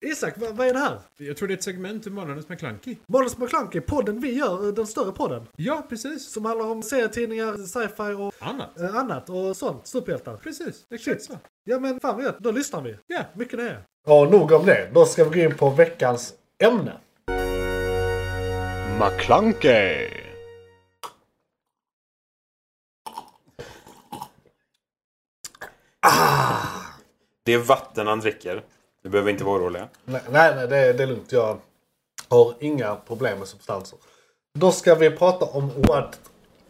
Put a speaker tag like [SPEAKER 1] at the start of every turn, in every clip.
[SPEAKER 1] Isak, vad, vad är det här?
[SPEAKER 2] Jag tror det är ett segment ur Månadens McKlunky.
[SPEAKER 1] Månadens McKlunky, podden vi gör, eh, den större podden.
[SPEAKER 2] Ja, precis.
[SPEAKER 1] Som handlar om serietidningar, sci-fi och
[SPEAKER 2] Annat.
[SPEAKER 1] eh, annat och sånt. Superhjältar.
[SPEAKER 2] Precis, exakt så.
[SPEAKER 1] Ja men fan vad gött, då lyssnar vi.
[SPEAKER 2] Ja.
[SPEAKER 1] Mycket nöje. Ja, nog om det. Då ska vi gå in på veckans ämne.
[SPEAKER 3] McClunkey!
[SPEAKER 4] Det är vatten han dricker. Du behöver inte vara oroliga.
[SPEAKER 1] Nej, nej, nej det, är, det är lugnt. Jag har inga problem med substanser. Då ska vi prata om What,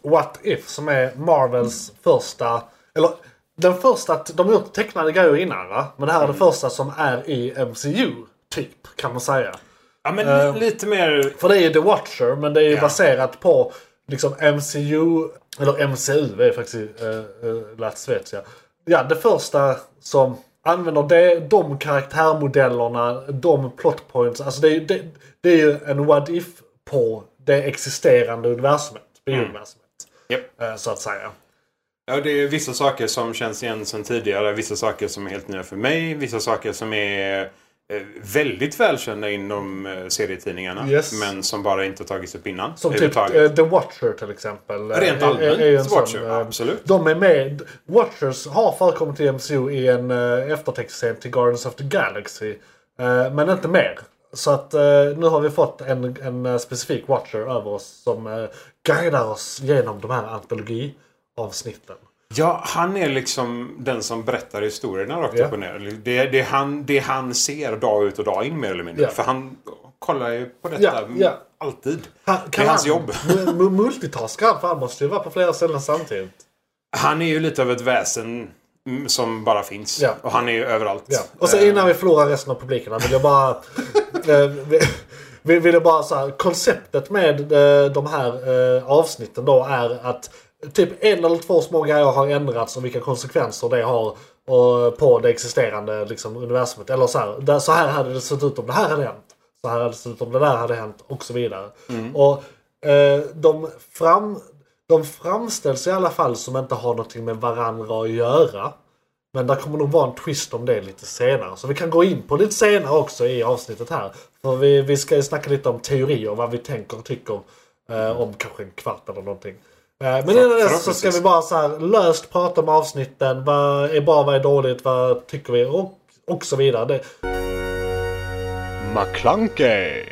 [SPEAKER 1] What If som är Marvels första... Eller den första... De har gjort tecknade grejer innan va? Men det här är det första som är i MCU. Typ, kan man säga.
[SPEAKER 4] Ja, men
[SPEAKER 1] Eh.
[SPEAKER 4] lite mer...
[SPEAKER 1] För det är ju The Watcher, men det är ju
[SPEAKER 4] Ja.
[SPEAKER 1] baserat på liksom MCU, eller MCU, det är faktiskt uh, uh, lät svetskt ja. Ja, det första som använder det, de karaktärmodellerna, de plotpoints. Alltså det, är ju- det, det är ju en what if på det existerande universumet, biouniversumet.
[SPEAKER 4] Japp.
[SPEAKER 1] eh, så att säga.
[SPEAKER 4] Ja, det är vissa saker som känns igen sedan tidigare. Vissa saker som är helt nya för mig. Vissa saker som är eh, väldigt välkända inom eh, serietidningarna.
[SPEAKER 1] Yes.
[SPEAKER 4] Men som bara inte tagits upp innan.
[SPEAKER 1] Som typ
[SPEAKER 4] överhuvudtaget.
[SPEAKER 1] eh, The Watcher till exempel. eh,
[SPEAKER 4] Rent
[SPEAKER 1] är- är-
[SPEAKER 4] allmänt,
[SPEAKER 1] är ju en
[SPEAKER 4] The
[SPEAKER 1] sån,
[SPEAKER 4] Watcher,
[SPEAKER 1] eh,
[SPEAKER 4] absolut.
[SPEAKER 1] De är med. Watchers har förekommit i MCU i en eh, eftertextserie till Guardians of the Galaxy. eh, Men inte mer. Så att eh, nu har vi fått en, en eh, specifik Watcher över oss som eh, guidar oss genom de här antologiavsnitten.
[SPEAKER 4] Ja, han är liksom den som berättar historierna rakt
[SPEAKER 1] Ja.
[SPEAKER 4] upp och ner. Det, det, är han, det han ser dag ut och dag in mer eller mindre.
[SPEAKER 1] Ja.
[SPEAKER 4] För han kollar ju på detta
[SPEAKER 1] Ja, ja.
[SPEAKER 4] alltid.
[SPEAKER 1] Han-
[SPEAKER 4] det är hans jobb.
[SPEAKER 1] mu- mu- Multitaskar han? För han måste ju vara på flera ställen samtidigt.
[SPEAKER 4] Han är ju lite av ett väsen mm, som bara finns.
[SPEAKER 1] Ja.
[SPEAKER 4] Och han är ju överallt. Eh,
[SPEAKER 1] Ja. Och så innan vi förlorar resten av publiken här vill jag bara... eh, vi- vi vill jag bara så här, konceptet med eh, de här eh, avsnitten då är att typ en eller två små grejer har ändrats och vilka konsekvenser det har och, på det existerande liksom, universumet. Eller så här, där, så här hade det sett ut om det här hade hänt. Så här hade det sett ut om det där hade hänt och så vidare. Och eh, de, fram, de framställs i alla fall som inte har någonting med varandra att göra. Men där kommer nog vara en twist om det lite senare. Så vi kan gå in på lite senare också i avsnittet här. För vi, vi ska ju snacka lite om teorier, vad vi tänker och tycker eh, om kanske en kvart eller någonting. Eh, men innan dess så ska
[SPEAKER 4] förhoppningsvis.
[SPEAKER 1] vi bara så här löst prata om avsnitten. Vad är bra, vad är dåligt, vad tycker vi och, och så vidare. Det,
[SPEAKER 3] McClunkey!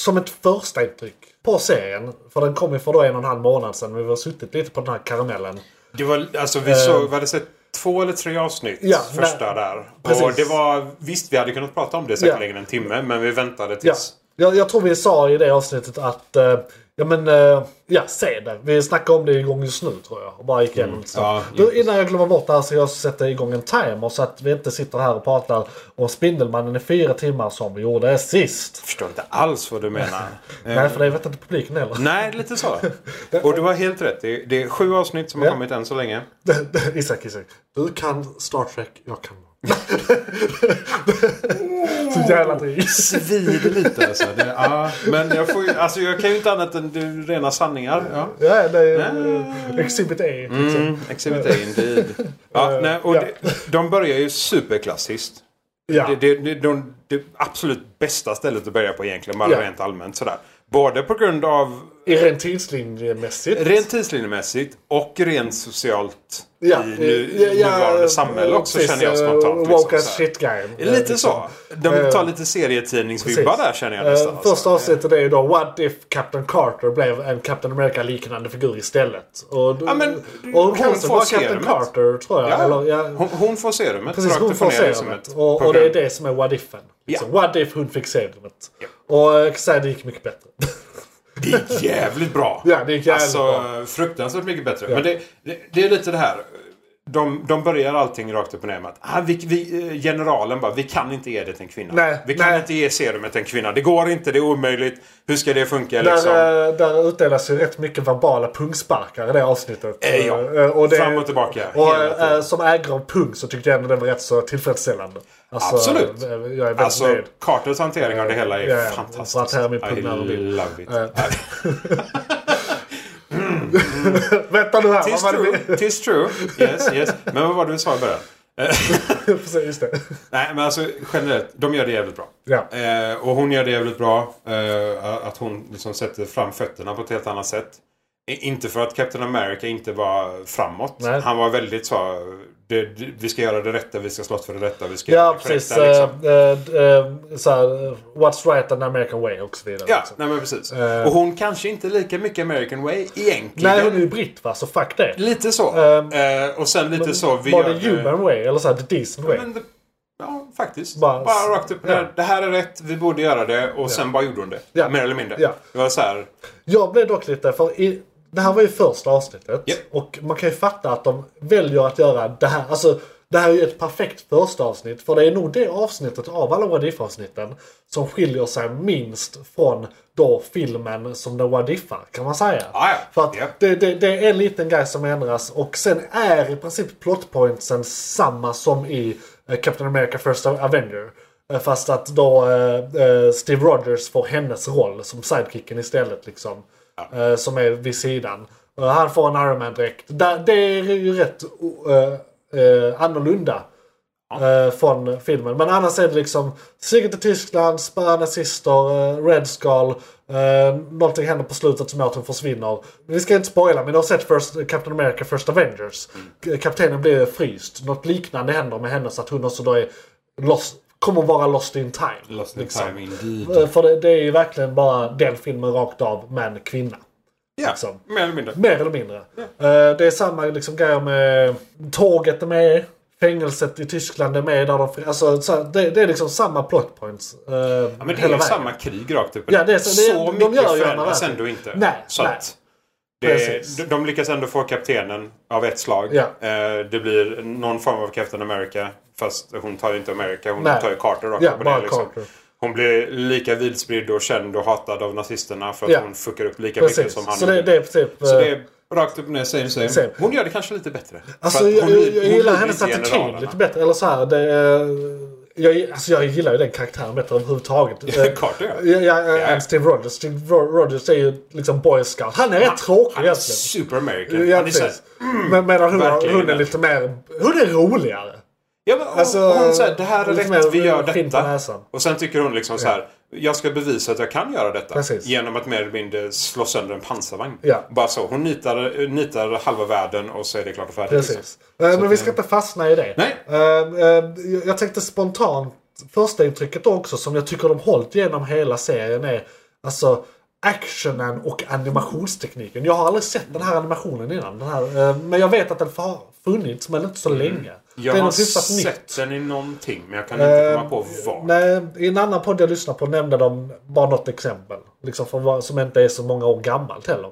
[SPEAKER 1] som ett första intryck på serien. För den kom ju för då en och en halv månad sedan. Vi har suttit lite på den här karamellen.
[SPEAKER 4] Det var, alltså, vi såg, vi hade sett två eller tre avsnitt
[SPEAKER 1] Eh. Ja,
[SPEAKER 4] första
[SPEAKER 1] nej.
[SPEAKER 4] där. Och
[SPEAKER 1] Precis.
[SPEAKER 4] det var, visst, vi hade kunnat prata om det säkerligen en timme. Men vi väntade
[SPEAKER 1] Ja.
[SPEAKER 4] tills...
[SPEAKER 1] Jag, jag tror vi sa i det avsnittet att eh, ja, men, eh, ja, se det. Vi snackade om det igång just nu tror jag. Och bara gick igenom lite
[SPEAKER 4] Ja,
[SPEAKER 1] snabbt. du, Innan jag glömmer bort Mm. det här så jag sätter igång en timer så att vi inte sitter här och pratar om Spindelmannen i fyra timmar som vi gjorde sist.
[SPEAKER 4] Jag förstår inte alls vad du menar. Eh,
[SPEAKER 1] Nej, för det vet inte publiken heller.
[SPEAKER 4] Nej, lite så. Och du har helt rätt. Det är, det är sju avsnitt som har
[SPEAKER 1] Ja.
[SPEAKER 4] kommit än så länge.
[SPEAKER 1] Isak, Isak. Du kan Star Trek, jag kan... så jävla trist.
[SPEAKER 4] Svider lite alltså. Det, ja. Men jag, får, ju- alltså, jag kan ju inte annat än du, rena sanningar. Ja.
[SPEAKER 1] Ja, det är eh, Exhibit A. Liksom.
[SPEAKER 4] Exhibit A indeed. Mm. Ja, nej, och
[SPEAKER 1] ja.
[SPEAKER 4] det- De börjar ju superklassiskt.
[SPEAKER 1] Ja.
[SPEAKER 4] Det, det, det, de, det absolut bästa stället att börja på egentligen, bara
[SPEAKER 1] Ja.
[SPEAKER 4] rent allmänt sådär. Både på grund av
[SPEAKER 1] I rent tidslinjemässigt.
[SPEAKER 4] rent tidslinjemässigt och rent socialt
[SPEAKER 1] Ja,
[SPEAKER 4] i nu,
[SPEAKER 1] ja, ja,
[SPEAKER 4] nuvarande samhälle också
[SPEAKER 1] precis,
[SPEAKER 4] känner jag
[SPEAKER 1] eh,
[SPEAKER 4] spontant.
[SPEAKER 1] Woke
[SPEAKER 4] Liksom,
[SPEAKER 1] as
[SPEAKER 4] såhär.
[SPEAKER 1] shit-grejen.
[SPEAKER 4] Lite så. De tar lite
[SPEAKER 1] Eh, liksom. Precis.
[SPEAKER 4] serietidningsvibbar där känner jag nästan.
[SPEAKER 1] Eh,
[SPEAKER 4] alltså.
[SPEAKER 1] Första avsnittet är ju då What if Captain Carter blev en Captain America-liknande figur istället? Och,
[SPEAKER 4] Ja, men,
[SPEAKER 1] och
[SPEAKER 4] hon
[SPEAKER 1] hon kanske
[SPEAKER 4] får
[SPEAKER 1] var Captain
[SPEAKER 4] serumet.
[SPEAKER 1] Carter tror jag.
[SPEAKER 4] Ja,
[SPEAKER 1] Eller, ja,
[SPEAKER 4] Hon, hon får serumet.
[SPEAKER 1] precis,
[SPEAKER 4] rakt
[SPEAKER 1] hon
[SPEAKER 4] upp och
[SPEAKER 1] får
[SPEAKER 4] ner, liksom
[SPEAKER 1] serumet.
[SPEAKER 4] ett
[SPEAKER 1] Och, och det är
[SPEAKER 4] program.
[SPEAKER 1] det som är What if-en. Liksom,
[SPEAKER 4] Ja.
[SPEAKER 1] What if hon fick serumet? Och eh, så här, det gick mycket bättre.
[SPEAKER 4] Det är jävligt bra.
[SPEAKER 1] Ja, det är jävligt
[SPEAKER 4] alltså,
[SPEAKER 1] bra.
[SPEAKER 4] fruktansvärt mycket bättre. Men det, det, det är lite det här. De, de börjar allting rakt upp och ner med att ah, vi, vi, eh, generalen bara, vi kan inte ge det till en kvinna.
[SPEAKER 1] Nej,
[SPEAKER 4] vi kan
[SPEAKER 1] nej.
[SPEAKER 4] inte ge serumet till en kvinna. Det går inte, det är omöjligt. Hur ska det funka
[SPEAKER 1] Där,
[SPEAKER 4] liksom?
[SPEAKER 1] eh, där utdelas ju rätt mycket verbala pungsparkar i det avsnittet.
[SPEAKER 4] Eh, ja.
[SPEAKER 1] Eh, och det-
[SPEAKER 4] Fram och tillbaka,
[SPEAKER 1] Och,
[SPEAKER 4] hela tiden.
[SPEAKER 1] eh, som ägare av pung så tyckte jag ändå den var rätt så tillfredsställande. Alltså,
[SPEAKER 4] Absolut.
[SPEAKER 1] eh, Jag är väldigt
[SPEAKER 4] Alltså,
[SPEAKER 1] nöjd.
[SPEAKER 4] Carters hantering av det hela är
[SPEAKER 1] Ja, ja.
[SPEAKER 4] fantastisk.
[SPEAKER 1] För att här är min
[SPEAKER 4] I
[SPEAKER 1] pugg nära min.
[SPEAKER 4] love it.
[SPEAKER 1] Vänta nu här.
[SPEAKER 4] Tis
[SPEAKER 1] Vad var det vi...
[SPEAKER 4] true. Tis true. Yes, yes. Men vad var det vi sa i början?
[SPEAKER 1] Precis, just det.
[SPEAKER 4] Nej, men alltså generellt. De gör det jävligt bra.
[SPEAKER 1] Ja.
[SPEAKER 4] Eh, och hon gör det jävligt bra. Eh, att hon liksom sätter fram fötterna på ett helt annat sätt. I- Inte för att Captain America inte var framåt.
[SPEAKER 1] Nej.
[SPEAKER 4] Han var väldigt så... Det, det, vi ska göra det rätta, vi ska slåss för det rätta, vi ska göra
[SPEAKER 1] Ja,
[SPEAKER 4] det
[SPEAKER 1] precis.
[SPEAKER 4] korrekta, liksom.
[SPEAKER 1] eh, eh, eh, så här, what's right and American way och så vidare.
[SPEAKER 4] Ja,
[SPEAKER 1] liksom.
[SPEAKER 4] nej men precis.
[SPEAKER 1] Eh.
[SPEAKER 4] Och hon kanske inte är lika mycket American way egentligen.
[SPEAKER 1] Nej, hon är ju britt va, så fuck det.
[SPEAKER 4] Lite så.
[SPEAKER 1] Ehm,
[SPEAKER 4] Eh, och sen lite så. Vi
[SPEAKER 1] Var
[SPEAKER 4] gör
[SPEAKER 1] det human way? Eller så här, the decent way?
[SPEAKER 4] Men det, ja, faktiskt.
[SPEAKER 1] Bara-
[SPEAKER 4] Bara, rakt upp och
[SPEAKER 1] ja.
[SPEAKER 4] ner. Det här är rätt, vi borde göra det. Och sen bara gjorde hon det.
[SPEAKER 1] Ja.
[SPEAKER 4] Mer eller mindre.
[SPEAKER 1] Ja.
[SPEAKER 4] Det var så här.
[SPEAKER 1] Jag blev dock lite, för i, det här var ju första avsnittet.
[SPEAKER 4] Ja.
[SPEAKER 1] Och man kan ju fatta att de väljer att göra det här. Alltså, det här är ju ett perfekt första avsnitt. För det är nog det avsnittet av alla What If-avsnitten som skiljer sig minst från då filmen som den What If-ar, kan man säga.
[SPEAKER 4] Ah, Ja, ja.
[SPEAKER 1] För att
[SPEAKER 4] Ja.
[SPEAKER 1] det, det, det är en liten grej som ändras och sen är i princip plotpointsen samma som i eh, Captain America First Avenger. Eh, Fast att då eh, eh, Steve Rogers får hennes roll som sidekicken istället. Liksom, eh, som är vid sidan. Eh, han får en Iron Man-dräkt. Där- Det är ju rätt o- eh, eh, annorlunda eh, från filmen. Men annars är det liksom Sigrid till Tyskland, spöa nazister, eh, Red Skull. Eh, någonting händer på slutet som gör att hon försvinner. Vi ska inte spoila, men du har sett First, Captain America First Avengers.
[SPEAKER 4] Mm.
[SPEAKER 1] K- Kaptenen blir fryst. Något liknande händer med henne så att hon också då är lost, kommer vara lost in time.
[SPEAKER 4] Lost in
[SPEAKER 1] liksom.
[SPEAKER 4] time indeed.
[SPEAKER 1] Eh, För det, det är ju verkligen bara den filmen rakt av med en kvinna.
[SPEAKER 4] Ja,
[SPEAKER 1] liksom.
[SPEAKER 4] mer eller mindre.
[SPEAKER 1] Mer eller mindre. Eh, det är samma liksom grejer med tåget är med. Fängelset i Tyskland är med. Där de, alltså, så här, det, det är liksom samma plot points. eh,
[SPEAKER 4] Ja, men det är
[SPEAKER 1] hela
[SPEAKER 4] ju
[SPEAKER 1] vägen.
[SPEAKER 4] samma krig rakt upp och
[SPEAKER 1] Ja,
[SPEAKER 4] ner.
[SPEAKER 1] det är så- det är- de
[SPEAKER 4] mycket
[SPEAKER 1] gör ju
[SPEAKER 4] förändras
[SPEAKER 1] annat.
[SPEAKER 4] ändå inte.
[SPEAKER 1] Nej,
[SPEAKER 4] så
[SPEAKER 1] nej.
[SPEAKER 4] Att det,
[SPEAKER 1] Precis.
[SPEAKER 4] de- de lyckas ändå få kaptenen av ett slag.
[SPEAKER 1] Ja.
[SPEAKER 4] Eh, det blir någon form av Captain America. Fast hon tar ju inte America, hon
[SPEAKER 1] Nej.
[SPEAKER 4] tar ju Carter rakt
[SPEAKER 1] Ja,
[SPEAKER 4] upp och
[SPEAKER 1] bara
[SPEAKER 4] ner. Liksom.
[SPEAKER 1] Carter.
[SPEAKER 4] Hon blir lika vidspridd och känd och hatad av nazisterna för att
[SPEAKER 1] Ja.
[SPEAKER 4] hon fuckar upp lika mycket
[SPEAKER 1] Precis.
[SPEAKER 4] som han
[SPEAKER 1] Så det,
[SPEAKER 4] gjorde.
[SPEAKER 1] det är typ...
[SPEAKER 4] Så
[SPEAKER 1] eh,
[SPEAKER 4] det är rakt upp och ner, same, same.
[SPEAKER 1] Same.
[SPEAKER 4] Hon gör det kanske lite bättre.
[SPEAKER 1] Alltså
[SPEAKER 4] För att
[SPEAKER 1] jag,
[SPEAKER 4] hon
[SPEAKER 1] jag,
[SPEAKER 4] lyder-
[SPEAKER 1] jag
[SPEAKER 4] hon
[SPEAKER 1] gillar
[SPEAKER 4] lyder
[SPEAKER 1] hennes
[SPEAKER 4] inte
[SPEAKER 1] attityd
[SPEAKER 4] generalerna.
[SPEAKER 1] lite bättre. Eller så här, det, eh, jag, alltså jag gillar ju den karaktären bättre överhuvudtaget. Eh,
[SPEAKER 4] Carter, ja.
[SPEAKER 1] ja. ja, ja,
[SPEAKER 4] Ja.
[SPEAKER 1] Steve Rogers. Steve Ro- Rogers är ju liksom boy scout. Han är rätt tråkig
[SPEAKER 4] Han är
[SPEAKER 1] egentligen.
[SPEAKER 4] super American.
[SPEAKER 1] Ja,
[SPEAKER 4] han är så här, mm.
[SPEAKER 1] precis. Men medan hon,
[SPEAKER 4] verkligen
[SPEAKER 1] hon är
[SPEAKER 4] egentligen.
[SPEAKER 1] lite mer... Hon är roligare.
[SPEAKER 4] Ja, men hon,
[SPEAKER 1] Alltså,
[SPEAKER 4] hon säger det här är
[SPEAKER 1] lite mer
[SPEAKER 4] rätt, vi gör
[SPEAKER 1] skinn på
[SPEAKER 4] detta.
[SPEAKER 1] näsan.
[SPEAKER 4] Och sen tycker hon liksom så här, jag ska bevisa att jag kan göra detta.
[SPEAKER 1] Precis.
[SPEAKER 4] Genom att mer eller mindre slå sönder en pansarvagn.
[SPEAKER 1] Ja.
[SPEAKER 4] Bara så. Hon nitar, nitar halva världen och så är det klart och färdigt. liksom.
[SPEAKER 1] Precis. Eh, Men vi ska inte fastna i det.
[SPEAKER 4] Nej.
[SPEAKER 1] Eh, eh, jag- Jag tänkte spontant, första intrycket också som jag tycker de hållit genom hela serien är alltså actionen och animationstekniken. Jag har aldrig sett den här animationen innan. Den här, eh, men jag vet att den har funnits men inte så länge.
[SPEAKER 4] Mm. Jag
[SPEAKER 1] det är
[SPEAKER 4] har
[SPEAKER 1] något hyfsat
[SPEAKER 4] sett
[SPEAKER 1] nytt.
[SPEAKER 4] den i någonting, men jag kan inte
[SPEAKER 1] Eh,
[SPEAKER 4] komma på vad.
[SPEAKER 1] Nej, I en annan podd jag lyssnade på nämnde de bara något exempel. Liksom för vad, som inte är så många år gammalt heller.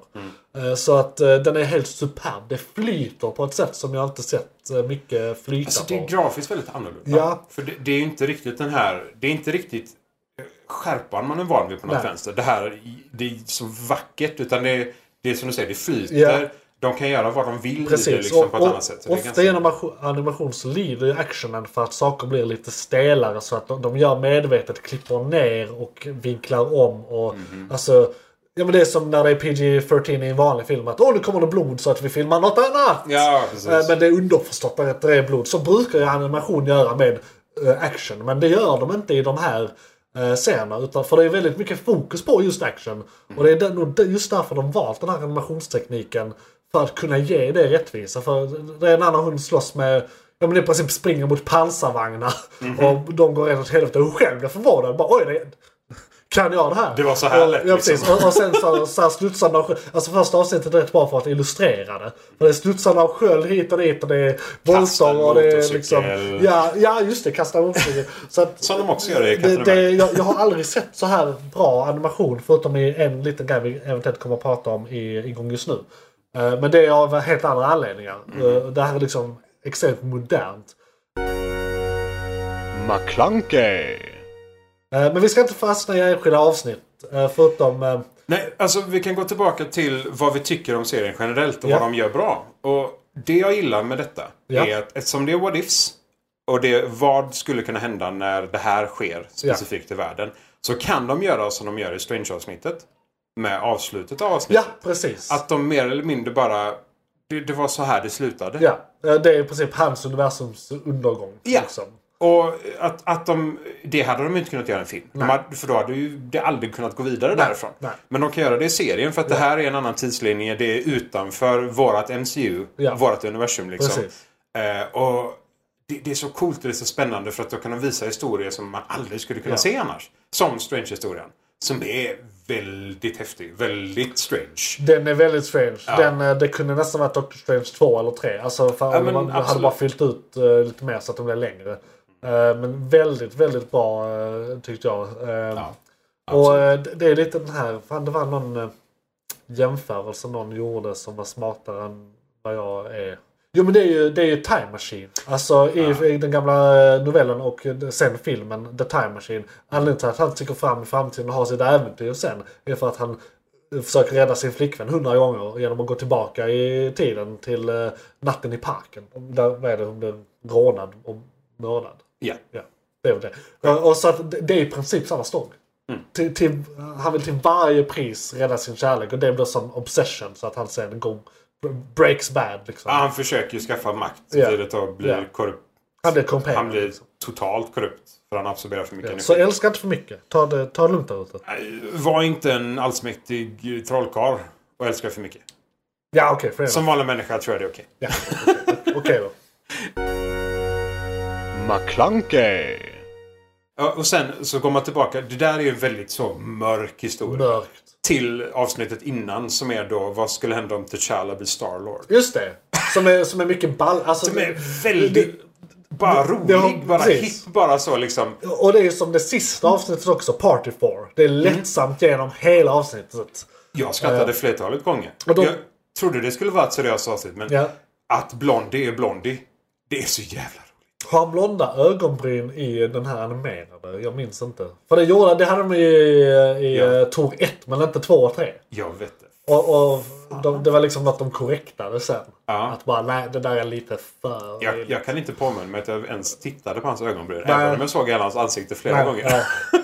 [SPEAKER 4] Mm.
[SPEAKER 1] Eh, Så att eh, den är helt superb. Det flyter på ett sätt som jag inte sett eh, mycket flyta
[SPEAKER 4] Alltså
[SPEAKER 1] på.
[SPEAKER 4] det är grafiskt väldigt annorlunda.
[SPEAKER 1] Ja.
[SPEAKER 4] För det, det är ju inte riktigt den här... Det är inte riktigt eh, skärpan man är van vid på något
[SPEAKER 1] Nej.
[SPEAKER 4] vänster. Det här det är så vackert. Utan det, är- det är som du säger, det flyter.
[SPEAKER 1] Ja.
[SPEAKER 4] De kan göra vad de vill i det
[SPEAKER 1] Precis,
[SPEAKER 4] liksom, på ett
[SPEAKER 1] och,
[SPEAKER 4] annat sätt. Så
[SPEAKER 1] och
[SPEAKER 4] det är
[SPEAKER 1] ofta
[SPEAKER 4] ganska-
[SPEAKER 1] genom animation- animation så lider ju actionen för att saker blir lite stelare så att de, de gör medvetet, klipper ner och vinklar om. Och,
[SPEAKER 4] Mhm.
[SPEAKER 1] alltså, ja, men det är som när det är PG-13 i en vanlig film att åh nu kommer det blod så att vi filmar något annat.
[SPEAKER 4] Ja, precis.
[SPEAKER 1] Eh, Men det är underförstått att det är blod. Så brukar ju animation göra med eh, action. Men det gör de inte i de här eh, scenerna. Utan för det är väldigt mycket fokus på just action. Och det är den- och det- just därför de valt den här animationstekniken. För att kunna ge det rättvisa. För det är en annan hund slåss med Ja men i princip springer mot pansarvagnar. Och de går rätt åt helvete. Hon själv blir förvånad. Bara, Oj, det, kan jag det här?
[SPEAKER 4] Det var så här
[SPEAKER 1] Och-
[SPEAKER 4] lätt,
[SPEAKER 1] Ja, precis.
[SPEAKER 4] liksom.
[SPEAKER 1] Och, och sen så, så här studsande av sköld. Alltså första avsnittet är rätt bra för att illustrera det. För det är studsande av sköld hit och dit och det är
[SPEAKER 4] Kasta en
[SPEAKER 1] våldsamt och det är
[SPEAKER 4] motorcykel.
[SPEAKER 1] liksom... Ja, ja just det. Kasta en motorcykel. Så att,
[SPEAKER 4] Som de också gör i
[SPEAKER 1] det,
[SPEAKER 4] Captain
[SPEAKER 1] det,
[SPEAKER 4] America.
[SPEAKER 1] jag, jag har aldrig sett så här bra animation förutom i en liten grej vi eventuellt kommer att prata om i, igång just nu. Eh, Men det är av helt andra anledningar.
[SPEAKER 4] Mm.
[SPEAKER 1] Eh, Det här är liksom extremt modernt.
[SPEAKER 3] McClunkey.
[SPEAKER 1] Eh, Men vi ska inte fastna i enskilda avsnitt. eh, Förutom... eh,
[SPEAKER 4] Nej, alltså vi kan gå tillbaka till vad vi tycker om serien generellt och
[SPEAKER 1] Ja.
[SPEAKER 4] vad de gör bra. Och det jag gillar med detta
[SPEAKER 1] Ja.
[SPEAKER 4] är att eftersom det är what ifs och det vad skulle kunna hända när det här sker specifikt i världen. Så kan de göra som de gör i Strange-avsnittet. Med avslutet av
[SPEAKER 1] Ja,
[SPEAKER 4] avsnittet.
[SPEAKER 1] precis.
[SPEAKER 4] Att de mer eller mindre bara det, det var så här det slutade.
[SPEAKER 1] Ja, eh, det är i princip hans universums undergång.
[SPEAKER 4] Ja.
[SPEAKER 1] Liksom.
[SPEAKER 4] Och att, att de, det hade de inte kunnat göra i en film. De hade, för då hade ju det aldrig kunnat gå vidare därifrån.
[SPEAKER 1] nej.
[SPEAKER 4] Men de kan göra det i serien för att det här är en annan tidslinje. Det är utanför vårat MCU,
[SPEAKER 1] Ja.
[SPEAKER 4] vårat universum liksom.
[SPEAKER 1] Precis.
[SPEAKER 4] Eh, och det, det är så coolt och det är så spännande för att då kan de visa historier som man aldrig skulle kunna se annars. Som Strange-historien. Som är väldigt häftig. Väldigt strange.
[SPEAKER 1] Den är väldigt strange. Den, eh, det kunde nästan varit Doctor Strange 2 eller 3. Alltså, för
[SPEAKER 4] men
[SPEAKER 1] man hade
[SPEAKER 4] absolut.
[SPEAKER 1] bara fyllt ut eh, lite mer så att de blev längre. Eh, men väldigt, väldigt bra eh, tyckte jag. Eh, och eh, det- det är lite den här, fan det var någon eh, jämförelse någon gjorde som var smartare än vad jag är. Jo men det är ju, det är ju Time Machine. Alltså i, i den gamla eh, novellen och eh, sen filmen The Time Machine. Anledningen till att han sticker fram i framtiden och har sitt äventyr sen är för att han eh, försöker rädda sin flickvän hundra gånger genom att gå tillbaka i tiden till eh, natten i parken. Där, vad är det, hon blev rånad och mördad.
[SPEAKER 4] Ja.
[SPEAKER 1] Ja, det är väl det. Eh, Och så att det- det är i princip samma story.
[SPEAKER 4] Mm.
[SPEAKER 1] Till, till, han vill till varje pris rädda sin kärlek och det blir som obsession så att han sen går, breaks bad liksom.
[SPEAKER 4] Ja, Han försöker ju skaffa makt.
[SPEAKER 1] Ja.
[SPEAKER 4] Till att då blir
[SPEAKER 1] Ja.
[SPEAKER 4] korrupt.
[SPEAKER 1] Han blir korrumperad.
[SPEAKER 4] Han blir
[SPEAKER 1] liksom.
[SPEAKER 4] totalt korrupt. För han absorberar för mycket
[SPEAKER 1] Ja,
[SPEAKER 4] energi.
[SPEAKER 1] Så älska inte för mycket. Ta det, ta det lugnt där ute.
[SPEAKER 4] Var inte en allsmäktig eh, trollkarl och älska för mycket.
[SPEAKER 1] Ja okej, okay,
[SPEAKER 4] Som vanlig människa tror jag det är okej.
[SPEAKER 1] Okej då.
[SPEAKER 3] McClunkey.
[SPEAKER 4] Ja, Och sen så går man tillbaka. Det där är ju en väldigt så mörk historia.
[SPEAKER 1] Mörkt.
[SPEAKER 4] Till avsnittet innan som är då vad skulle hända om T'Challa blir Starlord?
[SPEAKER 1] Just det. Som är, som är mycket ball. Alltså,
[SPEAKER 4] Som är väldigt... Bara rolig,
[SPEAKER 1] det har-
[SPEAKER 4] bara
[SPEAKER 1] precis.
[SPEAKER 4] hipp, bara så liksom.
[SPEAKER 1] Och det är ju som det sista avsnittet också, Party 4. Det
[SPEAKER 4] Mm.
[SPEAKER 1] är lättsamt genom hela avsnittet.
[SPEAKER 4] Jag skrattade flertalet gånger.
[SPEAKER 1] Och då-
[SPEAKER 4] Jag trodde det skulle vara ett seriöst avsnitt men
[SPEAKER 1] Ja.
[SPEAKER 4] att Blondie är Blondie, det är så jävla roligt.
[SPEAKER 1] Har han blonda ögonbryn i den här animerade? Jag minns inte. För det gjorde det hade de ju i, i
[SPEAKER 4] Ja.
[SPEAKER 1] eh, Tor 1 men inte 2 och 3.
[SPEAKER 4] Jag vet det.
[SPEAKER 1] Och, och de, det var liksom något de korrektade sen.
[SPEAKER 4] Ja.
[SPEAKER 1] Att bara nej, det där är lite för...
[SPEAKER 4] Jag, jag kan inte påminna mig att jag ens tittade på hans ögonbryn.
[SPEAKER 1] Nej.
[SPEAKER 4] Även om jag såg hela hans ansikte flera
[SPEAKER 1] Nej,
[SPEAKER 4] gånger.
[SPEAKER 1] nej.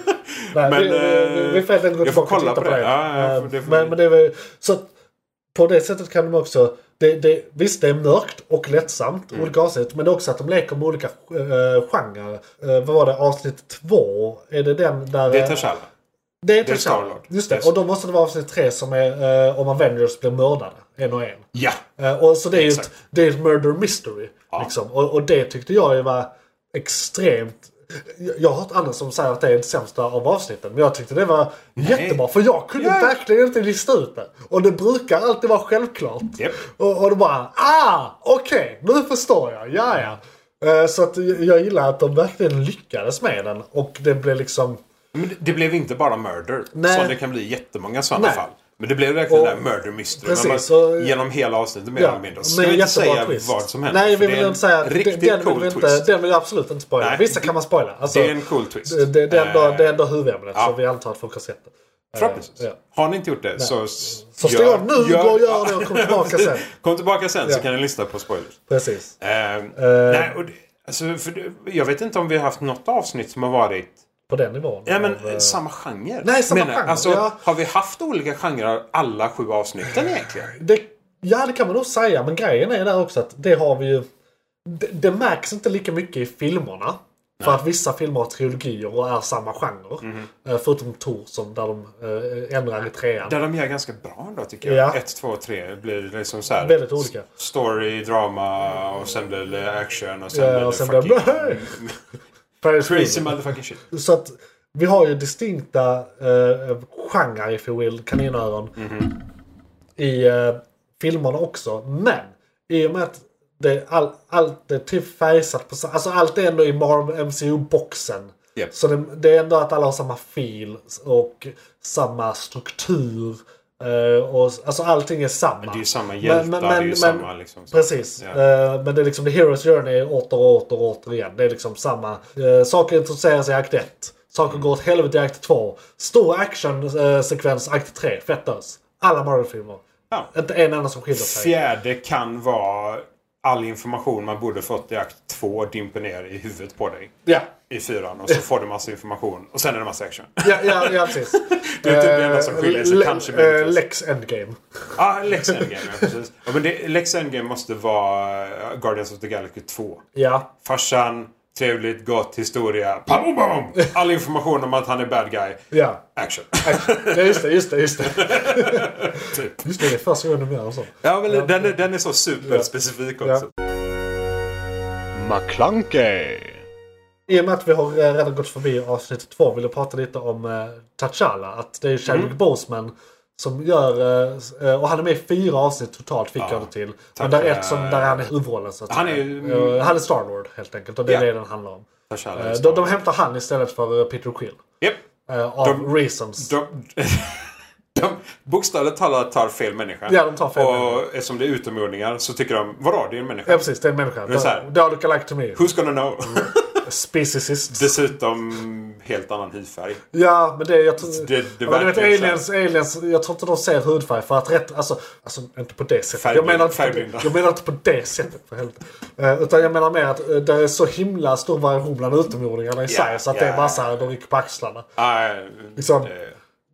[SPEAKER 1] Nej,
[SPEAKER 4] Men,
[SPEAKER 1] vi, vi, vi får helt enkelt gå
[SPEAKER 4] eh, jag får
[SPEAKER 1] tillbaka och titta
[SPEAKER 4] kolla
[SPEAKER 1] på
[SPEAKER 4] på
[SPEAKER 1] det.
[SPEAKER 4] det. Ja, ja,
[SPEAKER 1] Eh,
[SPEAKER 4] för det får
[SPEAKER 1] men,
[SPEAKER 4] vi-
[SPEAKER 1] men det är väl, så att på det sättet kan de också... Det, det, visst, det är mörkt och lättsamt,
[SPEAKER 4] Mm.
[SPEAKER 1] olika avsnitt. Men det är också att de leker med olika uh, genrer. Eh, vad var det? Avsnitt två? Är det den där...
[SPEAKER 4] Det är
[SPEAKER 1] eh,
[SPEAKER 4] T'Challa.
[SPEAKER 1] Det är
[SPEAKER 4] Det är
[SPEAKER 1] T'Challa.
[SPEAKER 4] Star-Lord.
[SPEAKER 1] Just det.
[SPEAKER 4] Yes.
[SPEAKER 1] Och då måste det vara avsnitt tre som är eh, om Avengers blir mördade. En och en.
[SPEAKER 4] Ja!
[SPEAKER 1] Eh, och så det är ju ett,
[SPEAKER 4] Exakt.
[SPEAKER 1] det är ett murder mystery. Liksom. Och, och det tyckte jag ju var extremt... Jag- Jag har hört andra som säger att det är det sämsta av avsnitten. Men jag tyckte det var jättebra. För jag kunde
[SPEAKER 4] Ja.
[SPEAKER 1] verkligen inte lista ut det. Och det brukar alltid vara självklart.
[SPEAKER 4] Japp.
[SPEAKER 1] Och, och då bara ah! Okej, nu förstår jag. Ja, ja. Eh, Så att jag- jag gillar att de verkligen lyckades med den. Och det blev liksom...
[SPEAKER 4] Men det- det blev inte bara murder.
[SPEAKER 1] Nej.
[SPEAKER 4] Som det kan bli i jättemånga sådana
[SPEAKER 1] Nej.
[SPEAKER 4] fall. Men det blev verkligen
[SPEAKER 1] Och-
[SPEAKER 4] det där murder mystery.
[SPEAKER 1] Precis,
[SPEAKER 4] man,
[SPEAKER 1] så-
[SPEAKER 4] genom hela avsnittet mer eller mindre. Så
[SPEAKER 1] men
[SPEAKER 4] ska vi inte
[SPEAKER 1] jättebra
[SPEAKER 4] säga
[SPEAKER 1] twist.
[SPEAKER 4] vad som händer.
[SPEAKER 1] Nej,
[SPEAKER 4] för
[SPEAKER 1] vi
[SPEAKER 4] det är
[SPEAKER 1] vill
[SPEAKER 4] en
[SPEAKER 1] inte säga. Den,
[SPEAKER 4] Riktigt
[SPEAKER 1] den,
[SPEAKER 4] cool
[SPEAKER 1] vill vi inte,
[SPEAKER 4] twist.
[SPEAKER 1] den vill jag absolut inte spoila.
[SPEAKER 4] Nej,
[SPEAKER 1] Vissa
[SPEAKER 4] det-
[SPEAKER 1] kan man spoila. Alltså,
[SPEAKER 4] Det är en cool twist.
[SPEAKER 1] Det, det, det, är ändå,
[SPEAKER 4] Eh,
[SPEAKER 1] det är ändå huvudämnet,
[SPEAKER 4] ja.
[SPEAKER 1] så vi antar att folk har sett det.
[SPEAKER 4] Förhoppningsvis.
[SPEAKER 1] Ja.
[SPEAKER 4] Har ni inte gjort det så... s-
[SPEAKER 1] Så
[SPEAKER 4] gör-
[SPEAKER 1] står nu,
[SPEAKER 4] gör-
[SPEAKER 1] gå och gör det och kom tillbaka sen.
[SPEAKER 4] Kom tillbaka sen
[SPEAKER 1] Ja. Eh.
[SPEAKER 4] så kan ni lyssna på spoilers.
[SPEAKER 1] Precis.
[SPEAKER 4] Ehm, nej, och det, alltså, för det, jag vet inte om vi har haft något avsnitt som har varit...
[SPEAKER 1] På den nivån.
[SPEAKER 4] Ja, men
[SPEAKER 1] av, eh,
[SPEAKER 4] samma genre.
[SPEAKER 1] Nej, samma
[SPEAKER 4] jag.
[SPEAKER 1] genre,
[SPEAKER 4] Alltså,
[SPEAKER 1] ja.
[SPEAKER 4] Har vi haft olika genrer alla sju avsnitten egentligen?
[SPEAKER 1] det, ja, det kan man nog säga. Men grejen är där också att det har vi ju... Det, det märks inte lika mycket i filmerna. För att vissa filmer har trilogier och är samma genre.
[SPEAKER 4] Mhm.
[SPEAKER 1] Eh, Förutom Tor som där de eh, ändrar i trean.
[SPEAKER 4] Där de gör ganska bra ändå tycker jag.
[SPEAKER 1] Ja.
[SPEAKER 4] Ett, två, tre blir det liksom så här.
[SPEAKER 1] Väldigt olika.
[SPEAKER 4] s- Story, drama och sen blir det action och sen
[SPEAKER 1] Ja,
[SPEAKER 4] blir det
[SPEAKER 1] Eh, och sen
[SPEAKER 4] fucking...
[SPEAKER 1] blir det- Ferris
[SPEAKER 4] crazy
[SPEAKER 1] Bueller.
[SPEAKER 4] motherfucking shit.
[SPEAKER 1] Så att vi har ju distinkta eh, genrer, if you will, kaninöron. I eh, filmerna också. Men i och med att det, all, allt är typ färgsatt på sa- Alltså allt är ändå i Marvel MCU-boxen.
[SPEAKER 4] Japp.
[SPEAKER 1] Så det, det är ändå att alla har samma fil och samma struktur. eh, och, alltså allting är samma.
[SPEAKER 4] Det är ju samma hjältar, det är ju samma liksom. så.
[SPEAKER 1] Precis.
[SPEAKER 4] Ja.
[SPEAKER 1] Eh, men det är liksom The Hero's Journey åter och åter och åter igen. Det är liksom samma. Eh, saker introduceras i akt 1. Saker går åt helvete i akt 2. Stor actionsekvens akt 3. Fett ös. Alla Marvel-filmer.
[SPEAKER 4] Ja.
[SPEAKER 1] Inte en enda som skiljer sig.
[SPEAKER 4] Fjärde kan vara all information man borde fått i akt 2 dimper ner i huvudet på dig.
[SPEAKER 1] Ja,
[SPEAKER 4] I fyran och så får du massa information och sen är det massa action.
[SPEAKER 1] ja, ja, ja precis.
[SPEAKER 4] Det är typ det enda som skiljer sig,
[SPEAKER 1] Eh, le-
[SPEAKER 4] kanske
[SPEAKER 1] eh,
[SPEAKER 4] möjligtvis.
[SPEAKER 1] Lex Endgame.
[SPEAKER 4] Ja, Lex Endgame, ja, precis. Ja, men det, Lex Endgame måste vara eh, Guardians of the Galaxy 2.
[SPEAKER 1] Ja,
[SPEAKER 4] Farsan, trevligt, gott, historia. Pam, pam, pam. All information om att han är bad guy.
[SPEAKER 1] ja.
[SPEAKER 4] Action.
[SPEAKER 1] Ja, just det, just det, just det.
[SPEAKER 4] Typ.
[SPEAKER 1] Just det, det är första gången de gör så.
[SPEAKER 4] Ja, men Den, är, den är så superspecifik också.
[SPEAKER 3] McClunkey,
[SPEAKER 1] I och med att vi har eh, redan gått förbi avsnitt två vill jag prata lite om eh, T'Challa. Att det är Chadwick
[SPEAKER 4] Mm.
[SPEAKER 1] Boseman som gör, eh, s- eh, och han är med i fyra avsnitt totalt fick jag det till. Men där är ett som, där han är huvudrollen så att
[SPEAKER 4] Eh, Han
[SPEAKER 1] säga.
[SPEAKER 4] är ju- mm.
[SPEAKER 1] Eh, Han är Starlord helt enkelt och det är
[SPEAKER 4] Ja.
[SPEAKER 1] det den handlar om.
[SPEAKER 4] T'Challa
[SPEAKER 1] Eh,
[SPEAKER 4] är
[SPEAKER 1] De,
[SPEAKER 4] Star.
[SPEAKER 1] de hämtar han istället för eh, Peter Quill.
[SPEAKER 4] Japp.
[SPEAKER 1] eh, Av
[SPEAKER 4] De-
[SPEAKER 1] reasons.
[SPEAKER 4] De, de bokstavligt talat tar fel människa.
[SPEAKER 1] Ja, de tar fel
[SPEAKER 4] Och
[SPEAKER 1] människa.
[SPEAKER 4] eftersom det är utomjordingar så tycker de, vadå, det är en människa.
[SPEAKER 1] Ja precis, det är en människa.
[SPEAKER 4] är så här.
[SPEAKER 1] They all look alike to me.
[SPEAKER 4] Who's gonna know?
[SPEAKER 1] Speciesists.
[SPEAKER 4] Dessutom helt annan hyfärg.
[SPEAKER 1] Ja, men det... Jag tror,
[SPEAKER 4] Det-
[SPEAKER 1] ja,
[SPEAKER 4] det
[SPEAKER 1] men du vet,
[SPEAKER 4] verkar ju så här.
[SPEAKER 1] aliens, aliens, jag tror inte de ser hudfärg för att rätt... Alltså, alltså inte på det sättet.
[SPEAKER 4] Färgblind-
[SPEAKER 1] jag, menar inte på
[SPEAKER 4] färgblinda.
[SPEAKER 1] det, jag menar inte på det sättet för helvete. Eh, utan jag menar mer att eh, det är så himla stor variation bland utomjordingarna i
[SPEAKER 4] Ja,
[SPEAKER 1] sig så att det
[SPEAKER 4] ja.
[SPEAKER 1] är bara så här, de rycker på axlarna.
[SPEAKER 4] Nej,
[SPEAKER 1] Liksom-
[SPEAKER 4] eh,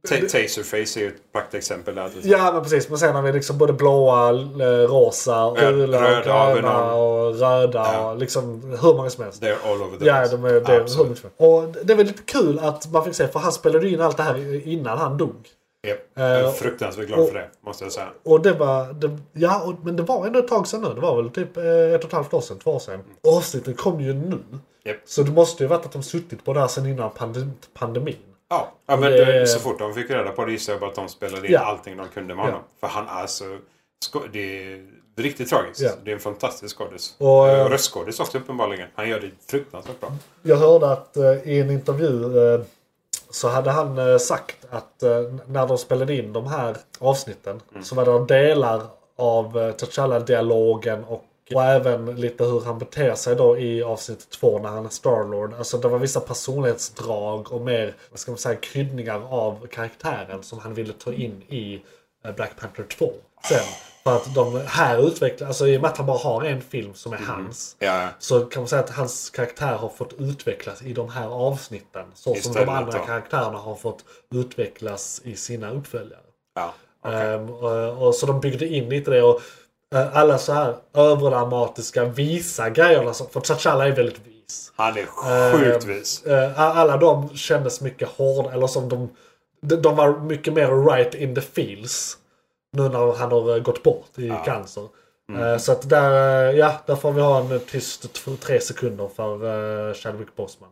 [SPEAKER 4] ta- Taserface är ju ett praktexempel där. till exempel.
[SPEAKER 1] Ja men precis, men sen har vi liksom både blåa, l- eh, rosa,
[SPEAKER 4] Röd-
[SPEAKER 1] gula,
[SPEAKER 4] röda har vi
[SPEAKER 1] gröna och röda och liksom hur många som helst.
[SPEAKER 4] They're all over the
[SPEAKER 1] Ja,
[SPEAKER 4] place.
[SPEAKER 1] de är, det är
[SPEAKER 4] Absolut.
[SPEAKER 1] roligt. Och det är väl lite kul att man fick se, för han spelade ju in allt det här innan han dog.
[SPEAKER 4] Japp. Jag är
[SPEAKER 1] Eh,
[SPEAKER 4] fruktansvärt glad
[SPEAKER 1] och-
[SPEAKER 4] för det, måste jag säga.
[SPEAKER 1] Och det var, det, ja, och, men det var ändå ett tag sedan nu. Det var väl typ eh, ett och ett halvt år sedan, två år sedan. Och avsnitten kom ju nu.
[SPEAKER 4] Japp.
[SPEAKER 1] Så det måste ju varit att de suttit på det här sedan innan pandem- pandemin.
[SPEAKER 4] Ja, ja men
[SPEAKER 1] det-
[SPEAKER 4] det, så fort de fick reda på det gissade jag bara att de spelade in
[SPEAKER 1] Ja.
[SPEAKER 4] allting de kunde med honom. För han är så... sko- Det är riktigt tragiskt.
[SPEAKER 1] Ja.
[SPEAKER 4] Det är en fantastisk skådis.
[SPEAKER 1] Och,
[SPEAKER 4] Eh,
[SPEAKER 1] eh, Mm.
[SPEAKER 4] Röstskådis också uppenbarligen. Han gör det fruktansvärt bra.
[SPEAKER 1] Jag hörde att eh, i en intervju eh, så hade han eh, sagt att eh, när de spelade in de här avsnitten så var det delar av eh, T'Challa-dialogen och, och även lite hur han beter sig då i avsnitt två när han är Starlord. Alltså det var vissa personlighetsdrag och mer, vad ska man säga, kryddningar av karaktären som han ville ta in i eh, Black Panther 2. Sen, för att de här utvecklar, alltså i och med att han bara har en film som är hans.
[SPEAKER 4] Ja,
[SPEAKER 1] Så kan man säga att hans karaktär har fått utvecklas i de här avsnitten. Så som
[SPEAKER 4] Istället,
[SPEAKER 1] de andra
[SPEAKER 4] ja.
[SPEAKER 1] karaktärerna har fått utvecklas i sina uppföljare.
[SPEAKER 4] ja.
[SPEAKER 1] Ehm, och, och, så de byggde in lite det. Och, eh, alla så här överdramatiska, visa grejerna. som- För T'Challa är väldigt vis.
[SPEAKER 4] Han är sjukt
[SPEAKER 1] Ehm,
[SPEAKER 4] vis.
[SPEAKER 1] eh, alla de kändes mycket hårda. Eller som de, de, de var mycket mer right in the feels. Nu när han har eh, gått bort i cancer.
[SPEAKER 4] Mm.
[SPEAKER 1] Eh, Så att där, eh, ja, där får vi ha en eh, tyst t- tre sekunder för uh, Chadwick Boseman.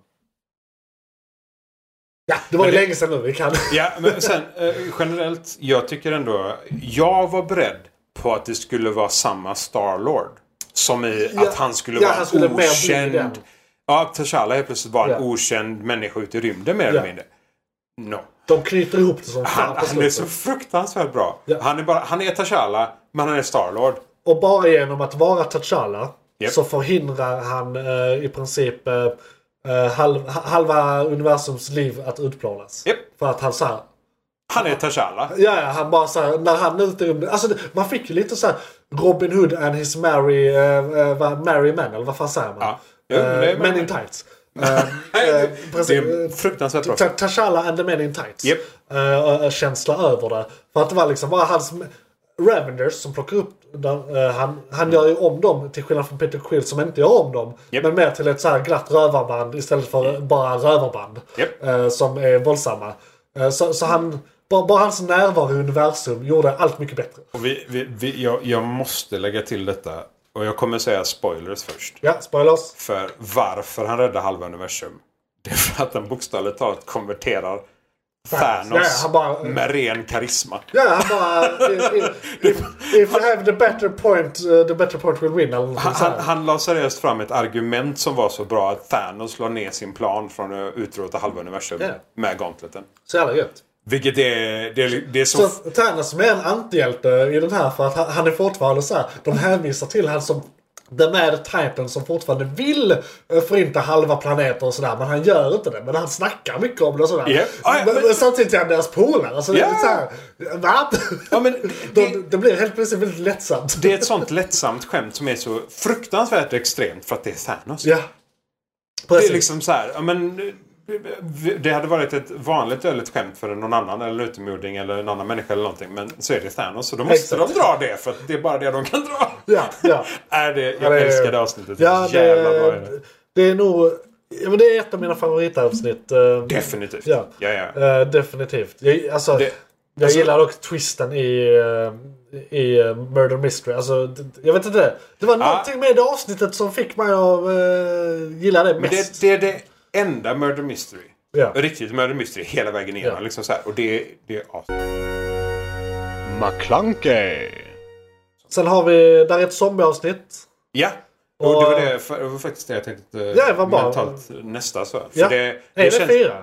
[SPEAKER 1] Ja, det var ju
[SPEAKER 4] Men det-
[SPEAKER 1] länge sedan nu. Vi kan...
[SPEAKER 4] Ja, men sen eh, generellt. Jag tycker ändå... Jag var beredd på att det skulle vara samma Starlord. Som i
[SPEAKER 1] Ja.
[SPEAKER 4] att han skulle
[SPEAKER 1] Ja,
[SPEAKER 4] vara
[SPEAKER 1] han skulle
[SPEAKER 4] en
[SPEAKER 1] mer bli den.
[SPEAKER 4] okänd... Ja, T'Challa helt plötsligt var en
[SPEAKER 1] Ja.
[SPEAKER 4] okänd människa ute i rymden mer eller
[SPEAKER 1] Ja.
[SPEAKER 4] mindre. No.
[SPEAKER 1] De knyter ihop det som fan
[SPEAKER 4] Han,
[SPEAKER 1] på
[SPEAKER 4] han är så
[SPEAKER 1] slutet.
[SPEAKER 4] fruktansvärt bra.
[SPEAKER 1] Ja.
[SPEAKER 4] Han är bara, han är T'Challa, men han är Starlord.
[SPEAKER 1] Och bara genom att vara T'Challa
[SPEAKER 4] Japp.
[SPEAKER 1] så förhindrar han eh, i princip eh, eh, halv, ha- halva universums liv att utplånas.
[SPEAKER 4] Japp.
[SPEAKER 1] För att han så här,
[SPEAKER 4] Han är T'Challa.
[SPEAKER 1] Ja, ja, han bara så här, när han är ute i rymden. Alltså, det- man fick ju lite så här Robin Hood and his Mary, uh, Mary Man, eller vad fan säger man?
[SPEAKER 4] Ja. Jo, men det är
[SPEAKER 1] Eh, men in tights. Eh, eh,
[SPEAKER 4] Det
[SPEAKER 1] precis.
[SPEAKER 4] är fruktansvärt bra.
[SPEAKER 1] Ta- T'Challa and the Men in Tights.
[SPEAKER 4] Japp.
[SPEAKER 1] Eh, och- och känsla över det. För att det var liksom bara hans... Ravenders som plockar upp där, eh, han, han gör ju om dem till skillnad från Peter Quill som inte gör om dem.
[SPEAKER 4] Japp.
[SPEAKER 1] Men mer till ett så här glatt rövarband istället för bara rövarband.
[SPEAKER 4] Japp.
[SPEAKER 1] eh, Som är våldsamma. Eh, Så, så han, bara, bara hans närvaro i universum gjorde allt mycket bättre.
[SPEAKER 4] Och vi, vi, vi, jag, jag måste lägga till detta. Och jag kommer säga spoilers först.
[SPEAKER 1] Ja, spoilers.
[SPEAKER 4] För varför han räddar halva universum. Det är för att han bokstavligt talat konverterar Thanos
[SPEAKER 1] Ja, han bara-
[SPEAKER 4] med ren karisma.
[SPEAKER 1] Ja, han bara... If, if, if you have the better point, eh, the better point will win. Eller någonting
[SPEAKER 4] Han,
[SPEAKER 1] så här.
[SPEAKER 4] han, han la seriöst fram ett argument som var så bra att Thanos la ner sin plan från att utrota halva universum
[SPEAKER 1] Ja.
[SPEAKER 4] med gauntleten.
[SPEAKER 1] Så jävla gött.
[SPEAKER 4] Vilket är... Det, är- det är så...
[SPEAKER 1] Så att Thanos som är en antihjälte i den här för att han, han är fortfarande så här. De hänvisar till han som The Mad Titan som fortfarande vill eh, förinta halva planeten och sådär. Men han gör inte det. Men han snackar mycket om det och sådär.
[SPEAKER 4] Ja. Ah, ja,
[SPEAKER 1] men,
[SPEAKER 4] men-
[SPEAKER 1] men samtidigt är han deras polare. Så det
[SPEAKER 4] Ja.
[SPEAKER 1] är lite såhär... Va?
[SPEAKER 4] Ja, men det-
[SPEAKER 1] det, det blir helt plötsligt väldigt lättsamt.
[SPEAKER 4] Det är ett sånt lättsamt skämt som är så fruktansvärt extremt för att det är Thanos.
[SPEAKER 1] ja.
[SPEAKER 4] Det
[SPEAKER 1] Precis.
[SPEAKER 4] är liksom så här, ja, men eh, det hade varit ett vanligt öligt skämt för någon annan eller en utomjording eller en annan människa eller någonting. Men så är det Thanos så då måste
[SPEAKER 1] Exakt.
[SPEAKER 4] de dra det för att det är bara det de kan dra.
[SPEAKER 1] Ja, ja.
[SPEAKER 4] Är det, jag
[SPEAKER 1] Ja, det-
[SPEAKER 4] älskar det avsnittet.
[SPEAKER 1] Ja, det,
[SPEAKER 4] Jävla bra är det.
[SPEAKER 1] det är nog... Ja, men det är ett av mina favoritavsnitt. eh,
[SPEAKER 4] Definitivt.
[SPEAKER 1] Ja.
[SPEAKER 4] Ja, ja.
[SPEAKER 1] eh, definitivt. Jag, alltså,
[SPEAKER 4] Det-
[SPEAKER 1] jag
[SPEAKER 4] alltså-
[SPEAKER 1] gillar också twisten i, eh, i eh, Murder Mystery. Alltså, d- d- jag vet inte. Det var någonting med det avsnittet som fick mig att eh, gilla det
[SPEAKER 4] Men
[SPEAKER 1] mest.
[SPEAKER 4] det, det är det enda Murder Mystery.
[SPEAKER 1] Ja.
[SPEAKER 4] Riktigt Murder Mystery hela vägen igenom.
[SPEAKER 1] Ja.
[SPEAKER 4] Liksom så här. Och det, det är as-
[SPEAKER 3] McClunkey.
[SPEAKER 1] Sen har vi... Där är ett zombieavsnitt.
[SPEAKER 4] Ja. Och, det, var
[SPEAKER 1] Och-
[SPEAKER 4] det, för, det var faktiskt det jag tänkte eh,
[SPEAKER 1] Ja, det var bara-
[SPEAKER 4] mentalt nästa så. För
[SPEAKER 1] Ja.
[SPEAKER 4] det,
[SPEAKER 1] är det
[SPEAKER 4] känns-
[SPEAKER 1] fyra?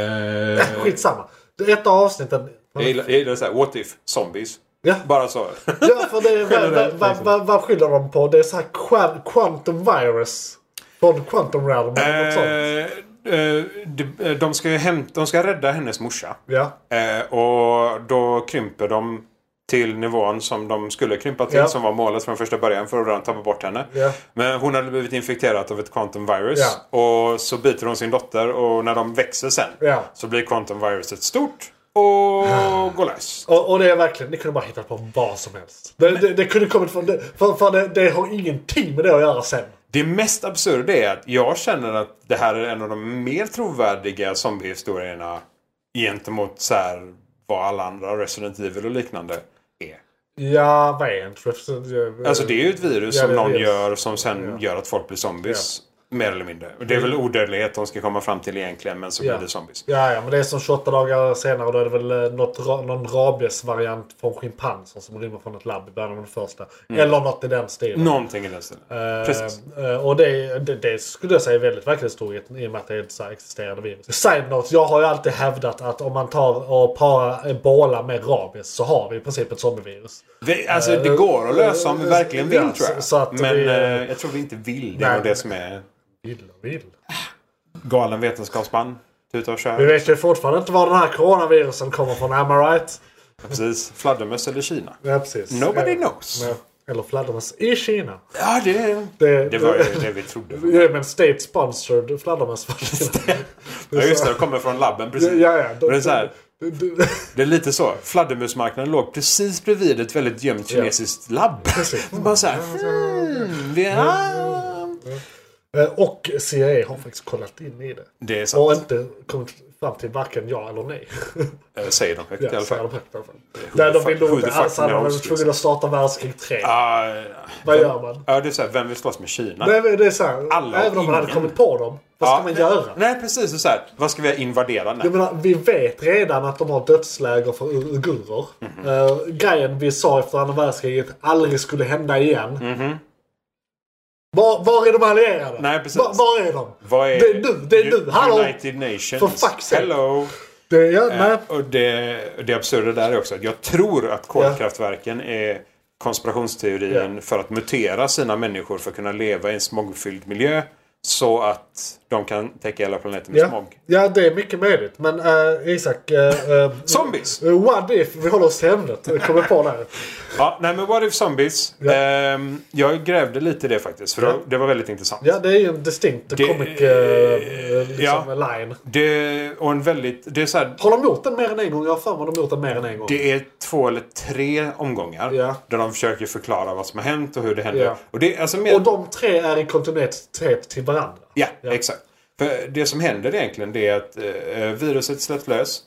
[SPEAKER 4] Eh,
[SPEAKER 1] Skitsamma. Det är ett av avsnitten.
[SPEAKER 4] jag gillar, jag gillar så här, what if zombies?
[SPEAKER 1] Ja.
[SPEAKER 4] Bara så.
[SPEAKER 1] Ja, för det, vad, vad, vad,
[SPEAKER 4] liksom.
[SPEAKER 1] vad, vad skyller de på? Det är så här quan- quantum virus. Från quantum realm eller något sånt.
[SPEAKER 4] Eh, eh, de, de, ska ju hämta, de ska rädda hennes morsa.
[SPEAKER 1] Ja.
[SPEAKER 4] Eh, och då krymper de till nivån som de skulle krympa till.
[SPEAKER 1] Ja.
[SPEAKER 4] Som var målet från första början för att redan tappa bort henne.
[SPEAKER 1] Ja.
[SPEAKER 4] Men hon hade blivit infekterad av ett quantum virus. Och så biter hon sin dotter och när de växer sen
[SPEAKER 1] Ja.
[SPEAKER 4] så blir quantum viruset stort och går lös.
[SPEAKER 1] Och, och det är verkligen, ni kunde bara hittat på vad som helst. Det, det, det kunde kommit från, det, för, för det, det har ingenting med det att göra sen.
[SPEAKER 4] Det mest absurda är att jag känner att det här är en av de mer trovärdiga zombiehistorierna gentemot så här, vad alla andra Resident Evil och liknande är.
[SPEAKER 1] Ja, vad är en trip?
[SPEAKER 4] Alltså det är ju ett virus
[SPEAKER 1] Ja,
[SPEAKER 4] som
[SPEAKER 1] det är
[SPEAKER 4] någon
[SPEAKER 1] virus.
[SPEAKER 4] gör som sen gör att folk blir zombies. Mer eller mindre. Och Det är väl odödlighet de ska komma fram till egentligen men så
[SPEAKER 1] Mm. Ja.
[SPEAKER 4] blir det zombies.
[SPEAKER 1] Ja, ja, men det är som 28 dagar senare. Då är det väl eh, något, ra- någon rabiesvariant från schimpanser som rymmer från ett labb i början av den första.
[SPEAKER 4] Mm.
[SPEAKER 1] Eller något i den stilen.
[SPEAKER 4] Någonting i den stilen.
[SPEAKER 1] Eh,
[SPEAKER 4] Precis.
[SPEAKER 1] eh, och det, det, det skulle jag säga är väldigt verklighetstroget i och med att det är ett så här existerande virus. Side note, jag har ju alltid hävdat att om man tar och parar ebola med rabies så har vi i princip ett zombievirus.
[SPEAKER 4] Vi, alltså det går att lösa om vi verkligen vill
[SPEAKER 1] eh, ja,
[SPEAKER 4] tror jag.
[SPEAKER 1] så- så att
[SPEAKER 4] men
[SPEAKER 1] vi, eh,
[SPEAKER 4] eh, jag tror vi inte vill. Det är
[SPEAKER 1] nej.
[SPEAKER 4] nog det som är
[SPEAKER 1] Vill och vill.
[SPEAKER 4] galen vetenskapsman. Tuta och
[SPEAKER 1] Vi
[SPEAKER 4] kör.
[SPEAKER 1] vet ju fortfarande inte var den här coronavirusen kommer från, am I right?
[SPEAKER 4] Precis. Fladdermöss eller Kina.
[SPEAKER 1] Ja, precis.
[SPEAKER 4] Nobody
[SPEAKER 1] Eh,
[SPEAKER 4] knows.
[SPEAKER 1] ja. Eller fladdermöss i Kina.
[SPEAKER 4] Ja, det,
[SPEAKER 1] Det,
[SPEAKER 4] det var ju det vi trodde.
[SPEAKER 1] Ja, men state sponsored fladdermöss.
[SPEAKER 4] Ja, just det. Det kommer från labben precis.
[SPEAKER 1] Ja, ja.
[SPEAKER 4] Men det är så här.
[SPEAKER 1] Du- du-
[SPEAKER 4] Det är lite så. Fladdermusmarknaden låg precis bredvid ett väldigt gömt kinesiskt labb.
[SPEAKER 1] Precis.
[SPEAKER 4] Bara så här. Hmm, vi har...
[SPEAKER 1] Eh, Och CIA har faktiskt kollat in i det.
[SPEAKER 4] Det är
[SPEAKER 1] Och
[SPEAKER 4] sant.
[SPEAKER 1] inte kommit fram till varken ja eller nej.
[SPEAKER 4] Eh, Säger de högt i alla
[SPEAKER 1] så är
[SPEAKER 4] fall.
[SPEAKER 1] de högt i alla fall. Där de
[SPEAKER 4] fuck-
[SPEAKER 1] vill nog
[SPEAKER 4] who
[SPEAKER 1] inte
[SPEAKER 4] the fuck
[SPEAKER 1] alls hade
[SPEAKER 4] knows,
[SPEAKER 1] varit
[SPEAKER 4] liksom.
[SPEAKER 1] tvungna att starta världskrig 3.
[SPEAKER 4] Ah,
[SPEAKER 1] Vad gör man?
[SPEAKER 4] Ja, det är så här. Vem vill slåss med Kina?
[SPEAKER 1] Nej, men det är så här,
[SPEAKER 4] Alla och
[SPEAKER 1] även om man hade
[SPEAKER 4] ingen.
[SPEAKER 1] kommit på dem, vad
[SPEAKER 4] Ja.
[SPEAKER 1] ska man göra?
[SPEAKER 4] Nej, precis. Det är Så här. Vad ska vi invadera? Nej.
[SPEAKER 1] Jag menar, vi vet redan att de har dödsläger för u- uigurer.
[SPEAKER 4] Mhm.
[SPEAKER 1] Eh, grejen vi sa efter andra världskriget aldrig skulle hända igen. Var, var är de allierade?
[SPEAKER 4] Mhm. Nej, precis.
[SPEAKER 1] Var, var är de?
[SPEAKER 4] Vad är...
[SPEAKER 1] Det är nu, det är nu. Hallå!
[SPEAKER 4] United Nations.
[SPEAKER 1] For fuck's sake.
[SPEAKER 4] Hello!
[SPEAKER 1] Det, ja, nej.
[SPEAKER 4] Eh, Och det, och det absurda där är också att jag tror att kolkraftverken är konspirationsteorin för att mutera sina människor för att kunna leva i en smogfylld miljö. Så att de kan täcka hela planeten med
[SPEAKER 1] Ja.
[SPEAKER 4] smog.
[SPEAKER 1] ja, det är mycket möjligt. Men eh, Isak... eh, eh,
[SPEAKER 4] Zombies!
[SPEAKER 1] Eh, What if? Vi håller oss till ämnet. Jag Kommer på där.
[SPEAKER 4] Ja, nej men what if zombies?
[SPEAKER 1] Ja.
[SPEAKER 4] Ehm, jag grävde lite i det faktiskt. För det var väldigt intressant.
[SPEAKER 1] Ja, det är ju en distinkt comic eh, liksom,
[SPEAKER 4] ja.
[SPEAKER 1] line.
[SPEAKER 4] Det, och en väldigt... Det är så här,
[SPEAKER 1] Har de gjort den mer än en gång? Jag har för mig att de gjort den mer än en gång.
[SPEAKER 4] Det är två eller tre omgångar
[SPEAKER 1] Ja.
[SPEAKER 4] där de försöker förklara vad som har hänt och hur det händer.
[SPEAKER 1] Ja.
[SPEAKER 4] Och det, är alltså mer...
[SPEAKER 1] Och de tre är i kontinuitet till varandra.
[SPEAKER 4] Ja,
[SPEAKER 1] Ja.
[SPEAKER 4] exakt. För det som händer egentligen det är att eh, viruset släpps lös.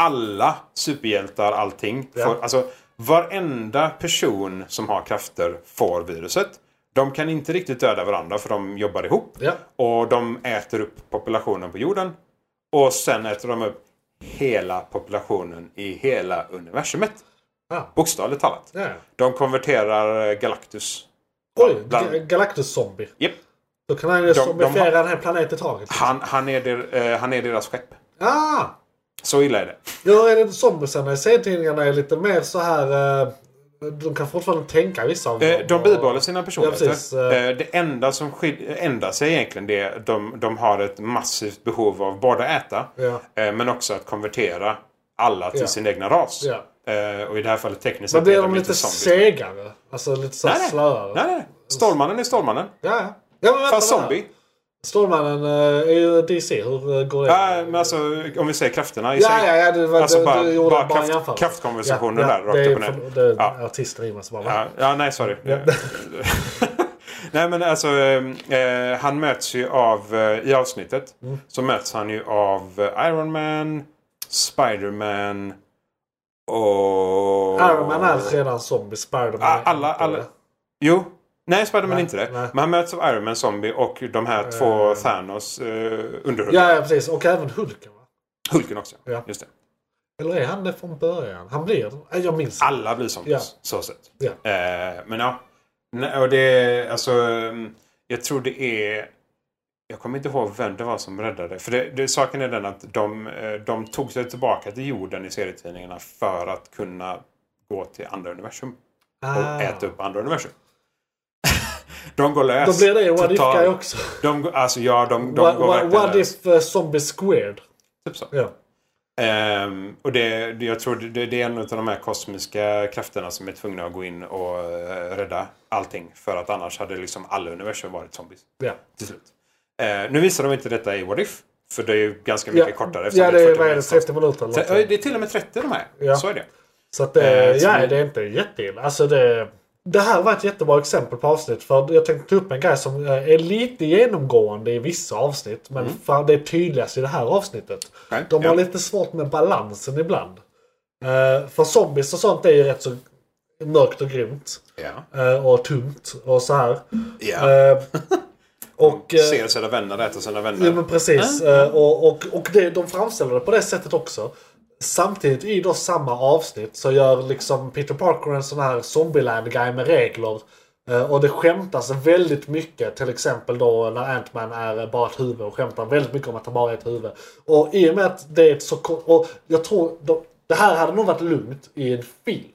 [SPEAKER 4] Alla superhjältar, allting.
[SPEAKER 1] Ja.
[SPEAKER 4] Får, alltså, varenda person som har krafter får viruset. De kan inte riktigt döda varandra för de jobbar ihop.
[SPEAKER 1] Ja.
[SPEAKER 4] Och de äter upp populationen på jorden. Och sen äter de upp hela populationen i hela universumet.
[SPEAKER 1] Ja.
[SPEAKER 4] Bokstavligt talat.
[SPEAKER 1] Ja.
[SPEAKER 4] De konverterar eh, Galactus.
[SPEAKER 1] Oj,
[SPEAKER 4] Bland-
[SPEAKER 1] Ga- Galactus-zombie.
[SPEAKER 4] Japp.
[SPEAKER 1] Då kan han ju
[SPEAKER 4] de
[SPEAKER 1] zombifiera en hel planet i taget.
[SPEAKER 4] Han, han, är der, eh, han är deras skepp.
[SPEAKER 1] Ah!
[SPEAKER 4] Så illa är det.
[SPEAKER 1] Ja, är det zombiesarna i serietidningarna är lite mer så här... eh, de kan fortfarande tänka vissa av
[SPEAKER 4] Eh, De
[SPEAKER 1] och-
[SPEAKER 4] bibehåller sina
[SPEAKER 1] Ja,
[SPEAKER 4] personligheter.
[SPEAKER 1] precis. Eh,
[SPEAKER 4] Eh, det enda som skil- ändrar sig egentligen det är att de, de har ett massivt behov av både att äta
[SPEAKER 1] Ja.
[SPEAKER 4] eh, men också att konvertera alla till
[SPEAKER 1] Ja.
[SPEAKER 4] sin egna ras.
[SPEAKER 1] Ja.
[SPEAKER 4] Eh, Och i det här fallet tekniskt
[SPEAKER 1] Men
[SPEAKER 4] sett
[SPEAKER 1] blir
[SPEAKER 4] är
[SPEAKER 1] de lite
[SPEAKER 4] zombies.
[SPEAKER 1] segare? Alltså lite så här
[SPEAKER 4] Nej,
[SPEAKER 1] slöare?
[SPEAKER 4] Nej, nej. Stålmannen är Stålmannen.
[SPEAKER 1] Ja, ja. ja men vänta,
[SPEAKER 4] Fast
[SPEAKER 1] vänta.
[SPEAKER 4] zombie.
[SPEAKER 1] Stålmannen eh, är ju DC. Hur eh, går det?
[SPEAKER 4] Ja, men alltså, om vi säger krafterna i
[SPEAKER 1] ja, ja, ja. Det var,
[SPEAKER 4] Alltså
[SPEAKER 1] du,
[SPEAKER 4] bara-
[SPEAKER 1] du gjorde
[SPEAKER 4] bara
[SPEAKER 1] bara, en
[SPEAKER 4] kraft-
[SPEAKER 1] jämförelse.
[SPEAKER 4] kraftkonversationen där, rakt
[SPEAKER 1] det är
[SPEAKER 4] upp och ner.
[SPEAKER 1] för- Det är
[SPEAKER 4] Ja.
[SPEAKER 1] artister i mig som bara... va?
[SPEAKER 4] Ja, ja, nej, sorry. Eh, nej, men alltså, eh, eh, han möts ju av, eh, i avsnittet,
[SPEAKER 1] Mm.
[SPEAKER 4] så möts han ju av eh, Iron Man, Spider-Man och...
[SPEAKER 1] Iron Man är redan zombie. Spiderman
[SPEAKER 4] Ah,
[SPEAKER 1] är
[SPEAKER 4] alla-
[SPEAKER 1] inte
[SPEAKER 4] alla-
[SPEAKER 1] det.
[SPEAKER 4] Jo. Nej, Spider-Man är
[SPEAKER 1] Nej,
[SPEAKER 4] inte det.
[SPEAKER 1] nej. Eh.
[SPEAKER 4] Men han möts av Iron Man, Zombie och de här två Thanos eh, underhuvuden.
[SPEAKER 1] Ja, ja, precis. Och även Hulken va?
[SPEAKER 4] Hulken också.
[SPEAKER 1] Ja.
[SPEAKER 4] Just det.
[SPEAKER 1] Eller är han det från början? Han blir det? Jag minns inte.
[SPEAKER 4] Alla blir zombies.
[SPEAKER 1] Ja.
[SPEAKER 4] Så sett.
[SPEAKER 1] Ja.
[SPEAKER 4] Eh, men ja. Nej, och det, alltså, ehm, jag tror det är... Jag kommer inte ihåg vem det var som räddade. För det, det, saken är den att de, eh, de tog sig tillbaka till jorden i serietidningarna för att kunna gå till andra universum. Och
[SPEAKER 1] Ah.
[SPEAKER 4] äta upp andra universum. de går lös.
[SPEAKER 1] Då blir det What
[SPEAKER 4] Alltså, Total-
[SPEAKER 1] If-guy också.
[SPEAKER 4] De, går- alltså ja, de, de
[SPEAKER 1] What,
[SPEAKER 4] går
[SPEAKER 1] what,
[SPEAKER 4] verkligen
[SPEAKER 1] what
[SPEAKER 4] lös.
[SPEAKER 1] If eh, Zombie Squared?
[SPEAKER 4] Typ så.
[SPEAKER 1] Ja.
[SPEAKER 4] Ehm, och det, det, jag tror det, det är en av de här kosmiska krafterna som är tvungna att gå in och eh, rädda allting. För att annars hade liksom alla universum varit zombies
[SPEAKER 1] ja.
[SPEAKER 4] till slut. Eh, nu visar de inte detta i What If. För det är ju ganska mycket
[SPEAKER 1] Ja,
[SPEAKER 4] kortare. eftersom
[SPEAKER 1] ja det är,
[SPEAKER 4] 40
[SPEAKER 1] vad är det,
[SPEAKER 4] minuters
[SPEAKER 1] 30 minuter eller något
[SPEAKER 4] avsnitt. Ja, Det är till och med 30 de här.
[SPEAKER 1] Ja.
[SPEAKER 4] Så är det.
[SPEAKER 1] Så att det,
[SPEAKER 4] Eh,
[SPEAKER 1] ja,
[SPEAKER 4] som-
[SPEAKER 1] det är inte jätteilla. Alltså det, det här var ett jättebra exempel på avsnitt. För jag tänkte ta upp en grej som eh, är lite genomgående i vissa avsnitt. Men fan, det är tydligast i det här avsnittet.
[SPEAKER 4] Okej,
[SPEAKER 1] De
[SPEAKER 4] Mm. ja.
[SPEAKER 1] har lite svårt med balansen ibland. Eh, För zombies och sånt är ju rätt så mörkt och grymt.
[SPEAKER 4] Ja.
[SPEAKER 1] eh, Och tungt och så här.
[SPEAKER 4] ja.
[SPEAKER 1] Eh, Och... eh,
[SPEAKER 4] Ser sina vänner, äter sina vänner.
[SPEAKER 1] Ja men precis. Eh, Och, och, och det, de framställer det på det sättet också. Samtidigt i då samma avsnitt så gör liksom Peter Parker en sån här Zombieland-guy med regler. Eh, Och det skämtas väldigt mycket. Till exempel då när Ant-Man är bara ett huvud och skämtar väldigt mycket om att han bara är ett huvud. Och i och med att det är ett så kort... Och jag tror... De, det här hade nog varit lugnt i en film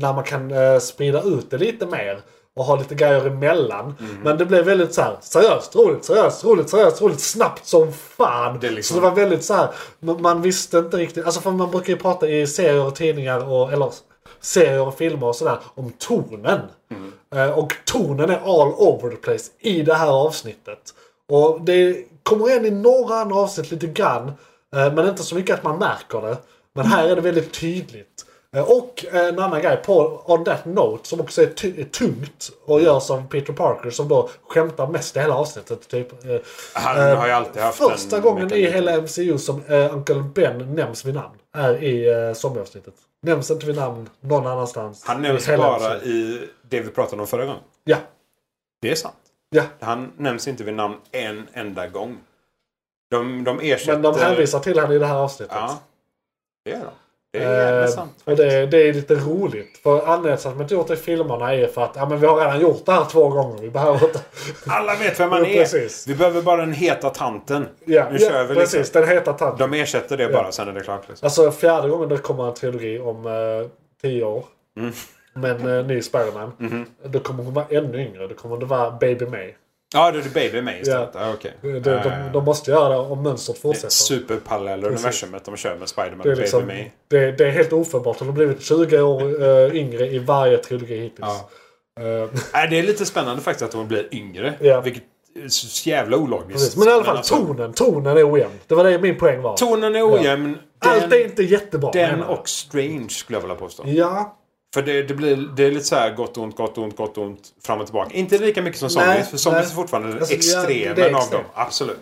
[SPEAKER 1] när man kan eh, sprida ut det lite mer och ha lite grejer emellan.
[SPEAKER 4] Mhm.
[SPEAKER 1] Men det blev väldigt så här seriöst, roligt, seriöst, roligt, seriöst, roligt, snabbt som fan.
[SPEAKER 4] Det är liksom-
[SPEAKER 1] Så det var väldigt så här, man, man visste inte riktigt, alltså för man brukar ju prata i serier och tidningar och, eller serier och filmer och sådär om tonen.
[SPEAKER 4] Mhm.
[SPEAKER 1] Eh, och tonen är all over the place i det här avsnittet. Och det kommer igen i några andra avsnitt lite grann, eh, men inte så mycket att man märker det. Men här är det väldigt tydligt. Eh, Och en annan grej på On That Note som också är, ty- är tungt
[SPEAKER 4] Mm.
[SPEAKER 1] och gör som Peter Parker som då skämtar mest i hela avsnittet. Typ. Eh,
[SPEAKER 4] Han
[SPEAKER 1] eh,
[SPEAKER 4] har ju alltid haft
[SPEAKER 1] Första
[SPEAKER 4] en
[SPEAKER 1] gången i
[SPEAKER 4] mekanik.
[SPEAKER 1] hela MCU som eh, Uncle Ben nämns vid namn är i eh, zombieavsnittet. Nämns inte vid namn någon annanstans.
[SPEAKER 4] Han nämns
[SPEAKER 1] i hela
[SPEAKER 4] bara
[SPEAKER 1] MCU.
[SPEAKER 4] i det vi pratade om förra gången.
[SPEAKER 1] Ja,
[SPEAKER 4] Det är sant.
[SPEAKER 1] ja.
[SPEAKER 4] Han nämns inte vid namn en enda gång. De, de ersätter...
[SPEAKER 1] Men de hänvisar till henne i det här avsnittet.
[SPEAKER 4] Ja, det gör de. Det är jävla
[SPEAKER 1] Eh,
[SPEAKER 4] sant.
[SPEAKER 1] och det, det är lite roligt. För anledningen till att man inte gjort det i filmerna är för att ja, men vi har redan gjort det här två gånger. Vi behöver inte...
[SPEAKER 4] Alla vet vem man
[SPEAKER 1] Ja,
[SPEAKER 4] är.
[SPEAKER 1] precis.
[SPEAKER 4] Vi behöver bara den heta tanten.
[SPEAKER 1] Ja,
[SPEAKER 4] nu
[SPEAKER 1] ja
[SPEAKER 4] kör vi
[SPEAKER 1] precis.
[SPEAKER 4] liksom.
[SPEAKER 1] Den heta tanten.
[SPEAKER 4] De ersätter det bara sen är det klart. Liksom.
[SPEAKER 1] Alltså fjärde gången det kommer en trilogi om eh, tio år.
[SPEAKER 4] Mm.
[SPEAKER 1] Men eh, ny Spiderman.
[SPEAKER 4] Mm-hmm.
[SPEAKER 1] Då kommer hon vara ännu yngre. Då kommer det vara Baby May.
[SPEAKER 4] Ja, det är Baby May istället. Ja. okej.
[SPEAKER 1] De, de,
[SPEAKER 4] Eh,
[SPEAKER 1] de måste göra det om mönstret fortsätter.
[SPEAKER 4] Superparallella universumet de kör med Spiderman
[SPEAKER 1] Det är,
[SPEAKER 4] och
[SPEAKER 1] liksom,
[SPEAKER 4] Baby May.
[SPEAKER 1] det, det är helt ofelbart. De har blivit 20 år eh, yngre i varje trilogi hittills.
[SPEAKER 4] Ja.
[SPEAKER 1] Eh,
[SPEAKER 4] Nej, det är lite spännande faktiskt att de blir yngre.
[SPEAKER 1] Ja.
[SPEAKER 4] Vilket är så jävla ologiskt.
[SPEAKER 1] precis. Men i alla fall
[SPEAKER 4] alltså,
[SPEAKER 1] tonen. Tonen är ojämn. Det var det min poäng var.
[SPEAKER 4] Tonen är ojämn.
[SPEAKER 1] Allt är
[SPEAKER 4] Den,
[SPEAKER 1] inte jättebra.
[SPEAKER 4] den
[SPEAKER 1] menar jag.
[SPEAKER 4] och Strange skulle jag vilja påstå.
[SPEAKER 1] Ja,
[SPEAKER 4] För det, det, blir, det är lite så här gott, ont, gott, ont, gott, ont. Fram och tillbaka. Inte lika mycket som
[SPEAKER 1] Nej,
[SPEAKER 4] zombies. för zombies
[SPEAKER 1] nej.
[SPEAKER 4] är fortfarande den
[SPEAKER 1] Alltså, ja, det är
[SPEAKER 4] extremen av
[SPEAKER 1] extremt.
[SPEAKER 4] dem. Absolut.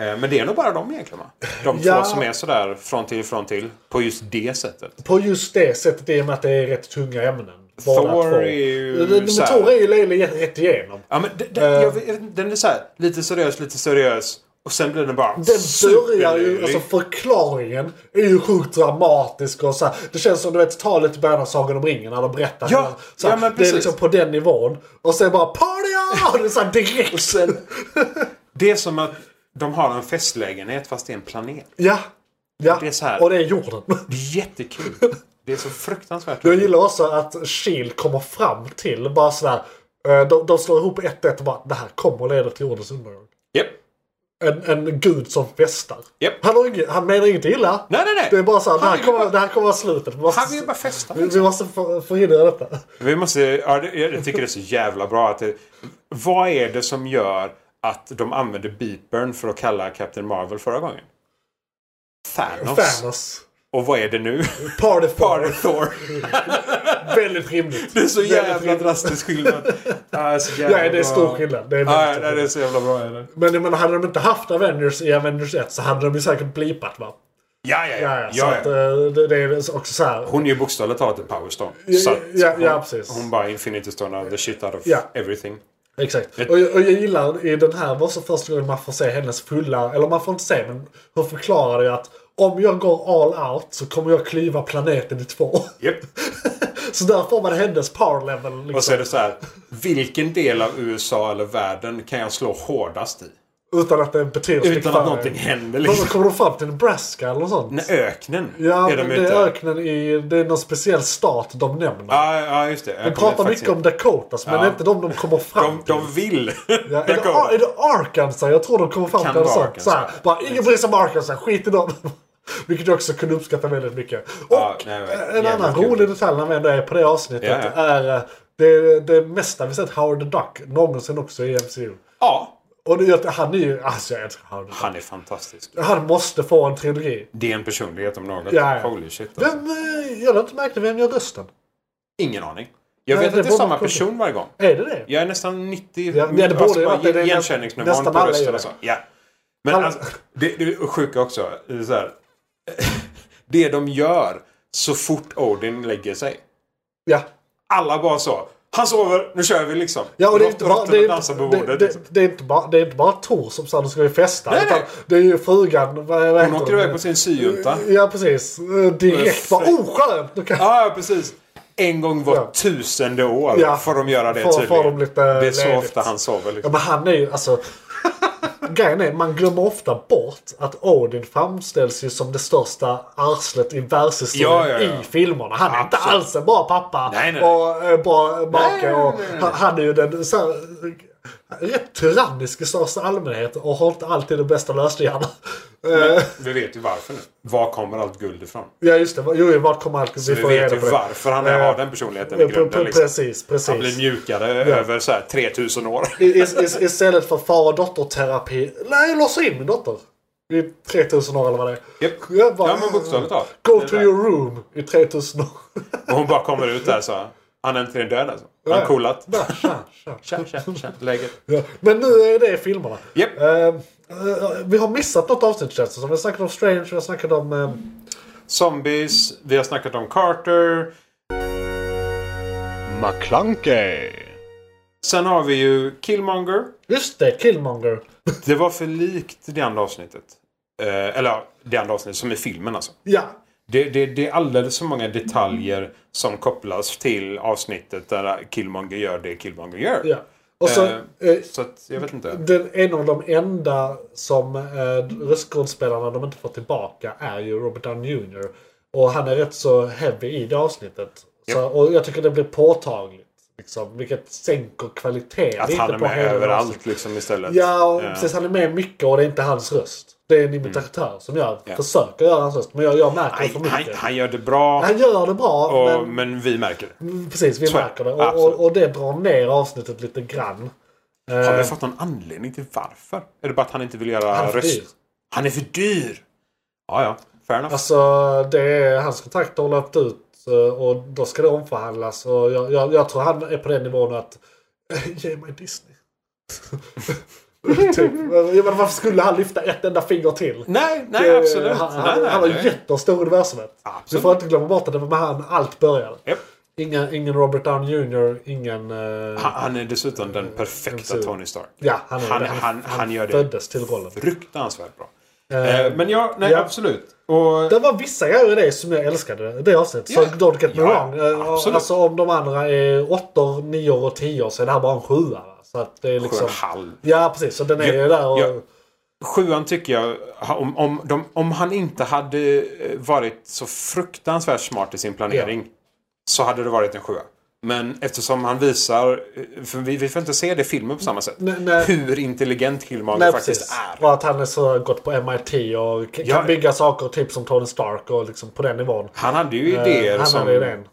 [SPEAKER 4] Eh, Men det är nog bara de egentligen va? De
[SPEAKER 1] Ja.
[SPEAKER 4] två som är sådär från till, från till. På just det sättet.
[SPEAKER 1] på just det sättet i och med att det är rätt tunga ämnen. Båda
[SPEAKER 4] Thor
[SPEAKER 1] två.
[SPEAKER 4] är ju
[SPEAKER 1] Men- Men
[SPEAKER 4] så här-
[SPEAKER 1] Thor är ju löjlig rätt igenom.
[SPEAKER 4] Ja, men den,
[SPEAKER 1] Eh.
[SPEAKER 4] den, jag, vet- jag vet inte, den är så här lite seriös, lite seriös. Och sen blir den bara
[SPEAKER 1] Den börjar ju,
[SPEAKER 4] superlöjlig.
[SPEAKER 1] alltså förklaringen är ju sjukt dramatisk och så här, Det känns som du vet talet i början av Sagan om ringen när de berättar.
[SPEAKER 4] Ja,
[SPEAKER 1] hur- så här,
[SPEAKER 4] ja, men
[SPEAKER 1] det är
[SPEAKER 4] precis.
[SPEAKER 1] liksom på den nivån. Och sen bara party on! Det är så här direkt.
[SPEAKER 4] Det är som att de har en festlägenhet fast det är en planet.
[SPEAKER 1] ja, ja.
[SPEAKER 4] Det är så här.
[SPEAKER 1] Och det är jorden.
[SPEAKER 4] Det är jättekul. Det är så fruktansvärt.
[SPEAKER 1] Jag gillar också att Shield kommer fram till bara sådär. eh, De, de slår ihop 1-1 och bara det här kommer leda till jordens undergång.
[SPEAKER 4] Japp.
[SPEAKER 1] En, en gud som festar.
[SPEAKER 4] Japp.
[SPEAKER 1] Han, har inget, han menar inget illa.
[SPEAKER 4] Nej, nej, nej.
[SPEAKER 1] Det är bara såhär, det här
[SPEAKER 4] Han vill-
[SPEAKER 1] kommer, det här kommer vara slutet. Vi måste,
[SPEAKER 4] Han vill ju bara festa.
[SPEAKER 1] vi, vi måste för- förhindra detta.
[SPEAKER 4] Vi måste, ja, det- jag tycker det är så jävla bra att det, Vad är det som gör att de använde beepern för att kalla Captain Marvel förra gången? Thanos.
[SPEAKER 1] Thanos.
[SPEAKER 4] Och vad är det nu?
[SPEAKER 1] Party for.
[SPEAKER 4] Bara Thor.
[SPEAKER 1] Väldigt rimligt.
[SPEAKER 4] Det är så
[SPEAKER 1] Väldigt
[SPEAKER 4] jävla
[SPEAKER 1] rimligt.
[SPEAKER 4] drastisk skillnad. Ja, så jävla
[SPEAKER 1] Nej, det är
[SPEAKER 4] bra.
[SPEAKER 1] stor skillnad. Det är
[SPEAKER 4] Ja,
[SPEAKER 1] väldigt stor
[SPEAKER 4] ja, det är
[SPEAKER 1] skillnad.
[SPEAKER 4] så jävla bra. Är det.
[SPEAKER 1] Men jag menar, hade de inte haft Avengers i Avengers 1 så hade de ju säkert blipat va?
[SPEAKER 4] Ja, ja,
[SPEAKER 1] Ja, ja.
[SPEAKER 4] ja.
[SPEAKER 1] Så
[SPEAKER 4] ja,
[SPEAKER 1] Att,
[SPEAKER 4] ja.
[SPEAKER 1] eh, det, det är också så här.
[SPEAKER 4] Hon är ju bokstavligt talat en powerstone.
[SPEAKER 1] Ja, ja, ja, precis.
[SPEAKER 4] Hon bara infinity stone of the shit out of
[SPEAKER 1] Ja.
[SPEAKER 4] everything.
[SPEAKER 1] Exakt. Och jag, och jag gillar i den här var så första gången man får se hennes fulla, eller man får inte se men hon förklarar ju att om jag går all out så kommer jag klyva planeten i två.
[SPEAKER 4] Japp.
[SPEAKER 1] så där får man hennes power level.
[SPEAKER 4] Och så är
[SPEAKER 1] Liksom,
[SPEAKER 4] det så här. Vilken del av USA eller världen kan jag slå hårdast i?
[SPEAKER 1] utan att det är en betydelsefull
[SPEAKER 4] Utan att
[SPEAKER 1] förändring.
[SPEAKER 4] någonting händer
[SPEAKER 1] Men
[SPEAKER 4] liksom.
[SPEAKER 1] då kommer de fram till Nebraska eller något sånt?
[SPEAKER 4] Nej, öknen
[SPEAKER 1] Ja,
[SPEAKER 4] är de
[SPEAKER 1] men det
[SPEAKER 4] ute.
[SPEAKER 1] är öknen i... Det är någon speciell stat de nämner.
[SPEAKER 4] Ja, ja, just det.
[SPEAKER 1] de pratar mycket om Dakotas, men det är inte de de kommer fram
[SPEAKER 4] De, de vill.
[SPEAKER 1] Ja, är, det, Ar- är det Arkansas? Jag tror de kommer fram
[SPEAKER 4] Kan
[SPEAKER 1] till det
[SPEAKER 4] vara
[SPEAKER 1] sånt.
[SPEAKER 4] Arkansas.
[SPEAKER 1] Såhär, bara, ingen bryr sig om Arkansas, skit i dem. Vilket jag också kunde uppskatta väldigt mycket. Och
[SPEAKER 4] Ja, nej, nej,
[SPEAKER 1] en
[SPEAKER 4] jävligt
[SPEAKER 1] annan
[SPEAKER 4] kul.
[SPEAKER 1] rolig detalj när vi ändå är på det avsnittet
[SPEAKER 4] Ja, ja.
[SPEAKER 1] är eh, det, det mesta vi sett Howard the Duck någonsin också i MCU.
[SPEAKER 4] Ja,
[SPEAKER 1] Och det, är att han är ju, alltså jag älskar Howard the Duck.
[SPEAKER 4] han är fantastisk.
[SPEAKER 1] Han måste få en trilogi.
[SPEAKER 4] Det är en personlighet om något.
[SPEAKER 1] Ja, ja.
[SPEAKER 4] Holy shit. Alltså.
[SPEAKER 1] Vem, eh, jag har inte märkt vem gör rösten.
[SPEAKER 4] Ingen aning. Jag
[SPEAKER 1] Nej,
[SPEAKER 4] vet
[SPEAKER 1] det
[SPEAKER 4] att det är
[SPEAKER 1] borde
[SPEAKER 4] samma
[SPEAKER 1] kunna-
[SPEAKER 4] person varje gång.
[SPEAKER 1] Är det det?
[SPEAKER 4] Jag är nästan alltså, 90...
[SPEAKER 1] Ja, det borde ju varit det. Det är
[SPEAKER 4] igenkänningsnivån
[SPEAKER 1] nästan
[SPEAKER 4] på
[SPEAKER 1] alla
[SPEAKER 4] rösten
[SPEAKER 1] gör
[SPEAKER 4] och
[SPEAKER 1] det.
[SPEAKER 4] så. Ja. Men
[SPEAKER 1] Han-
[SPEAKER 4] alltså, det, det är sjuka också. Det, är så här, det de gör så fort Odin lägger sig.
[SPEAKER 1] Ja.
[SPEAKER 4] Alla bara så. Han sover, nu kör vi liksom.
[SPEAKER 1] Ja, och det är
[SPEAKER 4] Rått-
[SPEAKER 1] inte bara,
[SPEAKER 4] råttorna
[SPEAKER 1] det är
[SPEAKER 4] dansar
[SPEAKER 1] inte,
[SPEAKER 4] på
[SPEAKER 1] det,
[SPEAKER 4] bordet.
[SPEAKER 1] det,
[SPEAKER 4] liksom.
[SPEAKER 1] det är inte bara, det är inte bara Tor som sa nu ska vi festa.
[SPEAKER 4] Nej,
[SPEAKER 1] utan
[SPEAKER 4] nej.
[SPEAKER 1] Det är ju frugan. Vad, vad heter
[SPEAKER 4] Hon åker
[SPEAKER 1] hon?
[SPEAKER 4] iväg på sin syjunta.
[SPEAKER 1] Ja, precis. Eh, Direkt bara oh skönt! Nu kan...
[SPEAKER 4] Ja, ja, precis. En gång var
[SPEAKER 1] Ja.
[SPEAKER 4] tusende år
[SPEAKER 1] Ja.
[SPEAKER 4] får de göra det
[SPEAKER 1] Får- får
[SPEAKER 4] tydligen.
[SPEAKER 1] de lite
[SPEAKER 4] det är så
[SPEAKER 1] ledigt.
[SPEAKER 4] ofta han sover. Liksom.
[SPEAKER 1] Ja, men han är ju alltså... Grejen är, man glömmer ofta bort att Odin framställs ju som det största arslet i världshistorien
[SPEAKER 4] Ja, ja, ja.
[SPEAKER 1] i filmerna. Han är inte
[SPEAKER 4] Absolut.
[SPEAKER 1] alls en bra pappa
[SPEAKER 4] Nej, nej, nej.
[SPEAKER 1] och eh, bra make.
[SPEAKER 4] nej,
[SPEAKER 1] Och
[SPEAKER 4] nej, nej.
[SPEAKER 1] han- Han är ju den så här, eh, rätt tyrannisk i största allmänhet och har inte alltid den bästa lösningen. Eh,
[SPEAKER 4] Vi vet ju varför nu. Var kommer allt guld ifrån?
[SPEAKER 1] ja, just det. Jo, vart kommer allt?
[SPEAKER 4] Vi vet ju varför han
[SPEAKER 1] Eh,
[SPEAKER 4] har den personligheten i grunden. Liksom.
[SPEAKER 1] Precis, precis.
[SPEAKER 4] Han blir mjukare över så här 3000 år.
[SPEAKER 1] I- i- i- Istället för far och dotterterapi. Nej, låsa in min dotter. I 3000 år eller vad det är.
[SPEAKER 4] Japp.
[SPEAKER 1] Jag bara-
[SPEAKER 4] Ja, men bokstavligt talat.
[SPEAKER 1] Go
[SPEAKER 4] Det
[SPEAKER 1] to
[SPEAKER 4] där.
[SPEAKER 1] your room i 3000 år.
[SPEAKER 4] Och hon bara kommer ut där så här. Han är äntligen död alltså. Han
[SPEAKER 1] Ja.
[SPEAKER 4] coolat.
[SPEAKER 1] Bara, tja, tja.
[SPEAKER 4] Tja, tja, tja. Läget.
[SPEAKER 1] Ja. Men nu är det filmerna.
[SPEAKER 4] Japp.
[SPEAKER 1] Eh, eh, vi har missat något avsnitt känns det som. Vi snackade om Strange, vi snackade om... eh,
[SPEAKER 4] Zombies. Vi har snackat om Carter.
[SPEAKER 3] McClunkey.
[SPEAKER 4] Sen har vi ju Killmonger.
[SPEAKER 1] just det, Killmonger.
[SPEAKER 4] Det var för likt det andra avsnittet. Eh, eller ja, det andra avsnittet som är filmen alltså.
[SPEAKER 1] ja.
[SPEAKER 4] Det, det, det är alldeles för många detaljer som kopplas till avsnittet där Killmonger gör det Killmonger gör.
[SPEAKER 1] ja. Och så...
[SPEAKER 4] Eh,
[SPEAKER 1] eh,
[SPEAKER 4] Så att, jag vet inte.
[SPEAKER 1] den, en av de enda som eh, röstskådespelarna de inte får tillbaka är ju Robert Downey Jr. Och han är rätt så heavy i det avsnittet. Så, och jag tycker det blir påtagligt. Liksom, vilket sänker kvaliteten
[SPEAKER 4] Att
[SPEAKER 1] lite
[SPEAKER 4] han är
[SPEAKER 1] på
[SPEAKER 4] med
[SPEAKER 1] hela
[SPEAKER 4] överallt
[SPEAKER 1] avsnittet.
[SPEAKER 4] liksom istället.
[SPEAKER 1] Ja, och
[SPEAKER 4] Eh,
[SPEAKER 1] precis. Han är med mycket och det är inte hans röst. Det är en imitatör som gör,
[SPEAKER 4] Mm. Ja.
[SPEAKER 1] försöker göra hans röst. Men jag, jag märker det för
[SPEAKER 4] han, han,
[SPEAKER 1] mycket.
[SPEAKER 4] han gör det bra,
[SPEAKER 1] Han gör det bra,
[SPEAKER 4] och, men...
[SPEAKER 1] men
[SPEAKER 4] vi märker det.
[SPEAKER 1] precis, vi
[SPEAKER 4] Så är det.
[SPEAKER 1] märker det. Och,
[SPEAKER 4] Absolut.
[SPEAKER 1] och, och det drar ner avsnittet lite grann. Eh.
[SPEAKER 4] Har vi fått någon anledning till varför? Är det bara att han inte vill göra
[SPEAKER 1] Han är för
[SPEAKER 4] röst?
[SPEAKER 1] dyr.
[SPEAKER 4] Han är för dyr! Ja, ja. Fair enough.
[SPEAKER 1] Alltså, det är, hans kontrakt har löpt ut eh, och då ska det omförhandlas. Och jag, jag, jag tror han är på den nivån att eh, ge mig Disney. typ. Jag menar, varför skulle han lyfta ett enda finger till?
[SPEAKER 4] nej, nej,
[SPEAKER 1] Det-
[SPEAKER 4] absolut.
[SPEAKER 1] Eh, Han,
[SPEAKER 4] nej,
[SPEAKER 1] han,
[SPEAKER 4] nej,
[SPEAKER 1] han har
[SPEAKER 4] nej.
[SPEAKER 1] jättestor universumet.
[SPEAKER 4] Absolut.
[SPEAKER 1] Du får inte glömma bort att det var med han allt började.
[SPEAKER 4] Japp.
[SPEAKER 1] Ingen, ingen Robert Downey Jr, ingen... eh,
[SPEAKER 4] Han, han är dessutom den perfekta
[SPEAKER 1] Absolut.
[SPEAKER 4] Tony Stark.
[SPEAKER 1] ja, han, är
[SPEAKER 4] han-
[SPEAKER 1] det.
[SPEAKER 4] han- han gör det.
[SPEAKER 1] föddes till rollen.
[SPEAKER 4] Fruktansvärt bra. Eh, men ja, nej,
[SPEAKER 1] ja.
[SPEAKER 4] absolut. Och,
[SPEAKER 1] Det var vissa grejer i det som jag älskade. Det avsnittet. Så
[SPEAKER 4] Ja.
[SPEAKER 1] don't get me
[SPEAKER 4] Ja,
[SPEAKER 1] wrong. Eh,
[SPEAKER 4] absolut.
[SPEAKER 1] Alltså om de andra är åttor, nior och tior så är det här bara en sjua. va? Så att det är liksom...
[SPEAKER 4] Sjönhall.
[SPEAKER 1] Ja precis. Så den är
[SPEAKER 4] Ja,
[SPEAKER 1] ju där och...
[SPEAKER 4] ja. Sjuan tycker jag, ha- om, om, de, om han inte hade eh, varit så fruktansvärt smart i sin planering så hade det varit en sjua. Men eftersom han visar, eh, för vi, vi får inte se det i filmen på samma sätt,
[SPEAKER 1] Nej, nej.
[SPEAKER 4] hur intelligent Killmonger
[SPEAKER 1] Nej,
[SPEAKER 4] faktiskt
[SPEAKER 1] precis.
[SPEAKER 4] är.
[SPEAKER 1] Och att han är så gott på MIT och k- kan
[SPEAKER 4] Ja.
[SPEAKER 1] bygga saker typ som Tony Stark och liksom på den nivån.
[SPEAKER 4] Han hade ju idéer
[SPEAKER 1] Eh, han
[SPEAKER 4] som...
[SPEAKER 1] hade idén.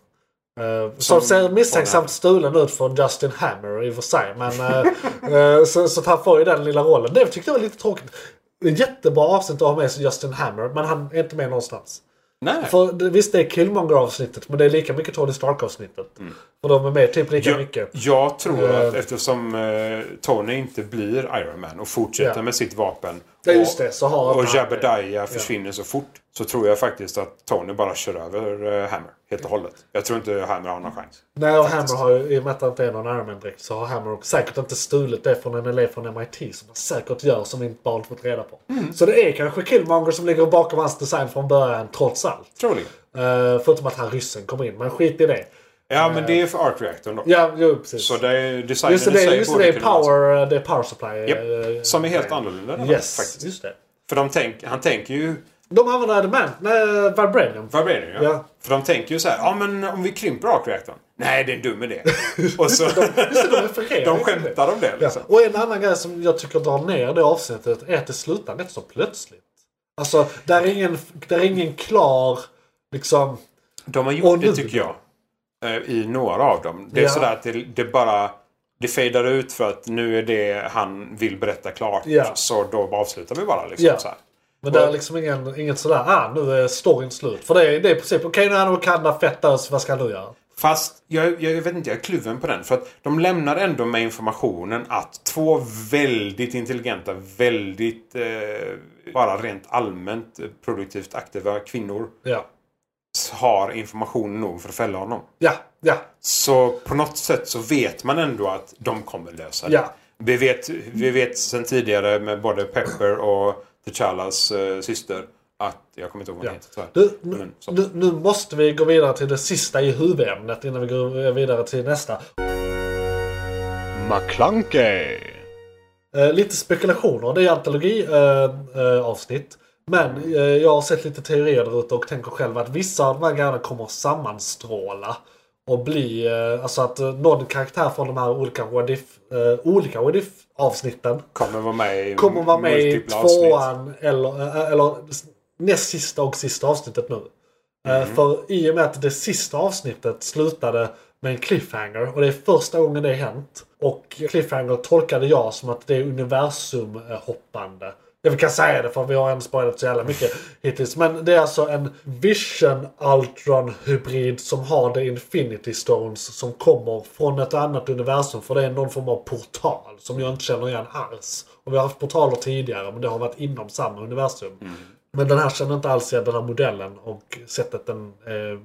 [SPEAKER 1] Eh, som ser misstänksamt
[SPEAKER 4] fångar.
[SPEAKER 1] stulen ut från Justin Hammer i och för sig. Men, eh, eh, så, så att han får ju den lilla rollen. Det tyckte jag var lite tråkigt. Jättebra avsnitt att ha med sig Justin Hammer, men han är inte med någonstans.
[SPEAKER 4] Nej.
[SPEAKER 1] För, det- visst, det är Killmonger-avsnittet, men det är lika mycket Tony Stark-avsnittet. För de är med typ lika
[SPEAKER 4] Jag,
[SPEAKER 1] mycket.
[SPEAKER 4] jag tror att
[SPEAKER 1] Eh.
[SPEAKER 4] eftersom eh, Tony inte blir Iron Man och fortsätter
[SPEAKER 1] Ja.
[SPEAKER 4] med sitt vapen.
[SPEAKER 1] Ja, just det. Så har
[SPEAKER 4] Och, och
[SPEAKER 1] han-
[SPEAKER 4] Jebediah försvinner så fort. Så tror jag faktiskt att Tony bara kör över eh, Hammer helt och hållet. Jag tror inte Hammer har någon chans.
[SPEAKER 1] Nej, och Hammer har ju, i och med att det inte är någon Ironman direkt, så har Hammer också säkert inte stulit det från en elev från MIT som han säkert gör som vi inte bara fått reda på. Så det är kanske Killmonger som ligger bakom hans design från början, trots allt.
[SPEAKER 4] Troligen.
[SPEAKER 1] Eh, förutom att han ryssen kom in, men skit i det.
[SPEAKER 4] Ja, men det är för Art Reactorn då.
[SPEAKER 1] Ja, jo precis.
[SPEAKER 4] Så det är designen
[SPEAKER 1] just det,
[SPEAKER 4] i
[SPEAKER 1] det,
[SPEAKER 4] sig
[SPEAKER 1] just det,
[SPEAKER 4] borde
[SPEAKER 1] det, är
[SPEAKER 4] kunna vara så.
[SPEAKER 1] power, det är power supply. eh,
[SPEAKER 4] Japp, som är helt annorlunda. än
[SPEAKER 1] Yes,
[SPEAKER 4] den, faktiskt.
[SPEAKER 1] just det.
[SPEAKER 4] För de tänk, han tänker ju
[SPEAKER 1] De använder adamant, nej, vibranium.
[SPEAKER 4] Vad blir det? Ja.
[SPEAKER 1] Ja.
[SPEAKER 4] För de tänker ju så här, ja men om vi krymper ark-reaktorn. Nej, det är en dum idé. Och så,
[SPEAKER 1] Just det, de refererar
[SPEAKER 4] de
[SPEAKER 1] till det.
[SPEAKER 4] skämtar om det
[SPEAKER 1] Ja.
[SPEAKER 4] liksom.
[SPEAKER 1] Och en annan grej som jag tycker drar ner det avsnittet är att det slutar rätt så plötsligt. Alltså, där är ingen, där är ingen klar... Liksom...
[SPEAKER 4] De har
[SPEAKER 1] Och
[SPEAKER 4] gjort
[SPEAKER 1] nu-
[SPEAKER 4] det tycker jag. eh, I några av dem. Det är
[SPEAKER 1] Ja.
[SPEAKER 4] sådär att det, det bara... Det fejdar ut för att nu är det han vill berätta klart.
[SPEAKER 1] Ja.
[SPEAKER 4] Så då bara avslutar vi bara liksom
[SPEAKER 1] Ja.
[SPEAKER 4] så här.
[SPEAKER 1] Men det är liksom ingen, ingen sådär, ah nu är storyn slut. För det är, det är i princip, okej nu är han och Wakanda fett ös, vad ska han nu göra?
[SPEAKER 4] Fast jag, jag vet inte, jag är kluven på den. För att de lämnar ändå med informationen att två väldigt intelligenta, väldigt eh, bara rent allmänt eh, produktivt aktiva kvinnor
[SPEAKER 1] Ja,
[SPEAKER 4] har information nog för att fälla honom.
[SPEAKER 1] ja, ja.
[SPEAKER 4] Så på något sätt så vet man ändå att de kommer lösa det.
[SPEAKER 1] Ja.
[SPEAKER 4] Vi, vet, vi vet sen tidigare med både Pepper och T'Challas eh, syster att, jag kommer inte ihåg vad
[SPEAKER 1] ja.
[SPEAKER 4] hon heter tyvärr.
[SPEAKER 1] Du, nu,
[SPEAKER 4] Men så.
[SPEAKER 1] nu, nu måste vi gå vidare till det sista i huvudämnet innan vi går vidare till nästa.
[SPEAKER 3] McClunkey.
[SPEAKER 1] Eh, lite spekulationer. Det är antologiavsnitt. Eh, eh, avsnitt. men eh, jag har sett lite teorier där ute och tänker själv att vissa av de här grejerna kommer att sammanstråla. Och bli, eh, alltså att eh, någon karaktär från de här olika what if, eh, olika what if avsnitten
[SPEAKER 4] Kommer vara med i
[SPEAKER 1] kommer vara med i
[SPEAKER 4] multipla avsnitt.
[SPEAKER 1] tvåan eller, eh, eller s- näst sista och sista avsnittet nu. Eh, För i och med att det sista avsnittet slutade med en cliffhanger och det är första gången det hänt. Och cliffhanger tolkade jag som att det är universumhoppande. Jag vi kan säga det för vi har ändå spoilat så jävla mycket hittills. Men det är alltså en Vision Ultron hybrid som har The Infinity Stones som kommer från ett annat universum. För det är någon form av portal som jag inte känner igen alls. Och vi har haft portaler tidigare men det har varit inom samma universum. Men den här känner inte alls igen den här modellen och sättet den eh,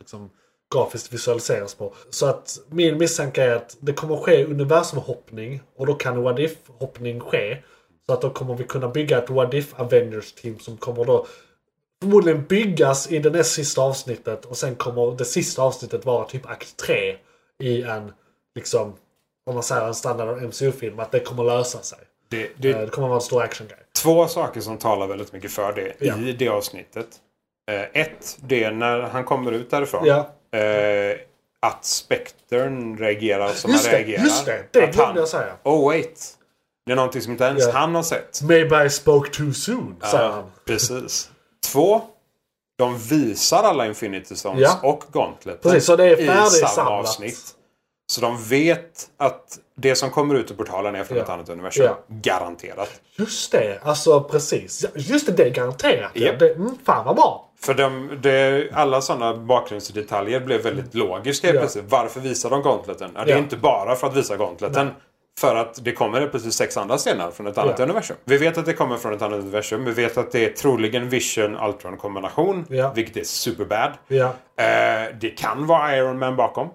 [SPEAKER 1] liksom, grafiskt visualiseras på. Så att min misstanke är att det kommer ske universumhoppning och då kan what if-hoppning ske. Så att då kommer vi kunna bygga ett what if Avengers-team som kommer då förmodligen byggas i det näst sista avsnittet och sen kommer det sista avsnittet vara typ akt 3 i en, liksom, om man säger en standard MCU-film, att det kommer lösa sig.
[SPEAKER 4] Det,
[SPEAKER 1] Eh,
[SPEAKER 4] det,
[SPEAKER 1] Det kommer vara en stor action-grej.
[SPEAKER 4] två saker som talar väldigt mycket för det
[SPEAKER 1] Ja.
[SPEAKER 4] i det avsnittet. Eh, ett, det är när han kommer ut därifrån.
[SPEAKER 1] Ja.
[SPEAKER 4] Eh, att Spectern reagerar som
[SPEAKER 1] Just
[SPEAKER 4] han
[SPEAKER 1] det,
[SPEAKER 4] reagerar.
[SPEAKER 1] just det. Det
[SPEAKER 4] att
[SPEAKER 1] glömde
[SPEAKER 4] han,
[SPEAKER 1] jag säga.
[SPEAKER 4] Oh wait. Det är någonting som inte ens
[SPEAKER 1] Ja.
[SPEAKER 4] han har sett.
[SPEAKER 1] Maybe I spoke too soon, säger
[SPEAKER 4] Ja,
[SPEAKER 1] han.
[SPEAKER 4] precis. Två, de visar alla Infinity Stones
[SPEAKER 1] Ja.
[SPEAKER 4] och Gauntlet
[SPEAKER 1] Precis, så det är färdigsamlat.
[SPEAKER 4] avsnitt. Så de vet att det som kommer ut ur portalen är från
[SPEAKER 1] Ja.
[SPEAKER 4] ett annat universum.
[SPEAKER 1] Ja.
[SPEAKER 4] Garanterat.
[SPEAKER 1] Just det, alltså precis. Ja, Just det, det är garanterat. Ja.
[SPEAKER 4] Japp.
[SPEAKER 1] Det, mm, fan vad bra.
[SPEAKER 4] För de, det, alla sådana bakgrundsdetaljer blev väldigt logiska helt
[SPEAKER 1] Mm. Ja.
[SPEAKER 4] plötsligt. Varför visar de Gauntleten? Ja, det är
[SPEAKER 1] Ja.
[SPEAKER 4] inte bara för att visa Gauntleten. För att det kommer helt plötsligt sex andra stenar från ett annat
[SPEAKER 1] Ja.
[SPEAKER 4] universum. Vi vet att det kommer från ett annat universum. Vi vet att det är troligen Vision-Ultron-kombination.
[SPEAKER 1] Ja.
[SPEAKER 4] Vilket är superbad.
[SPEAKER 1] Ja,
[SPEAKER 4] Eh, det kan vara Iron Man bakom.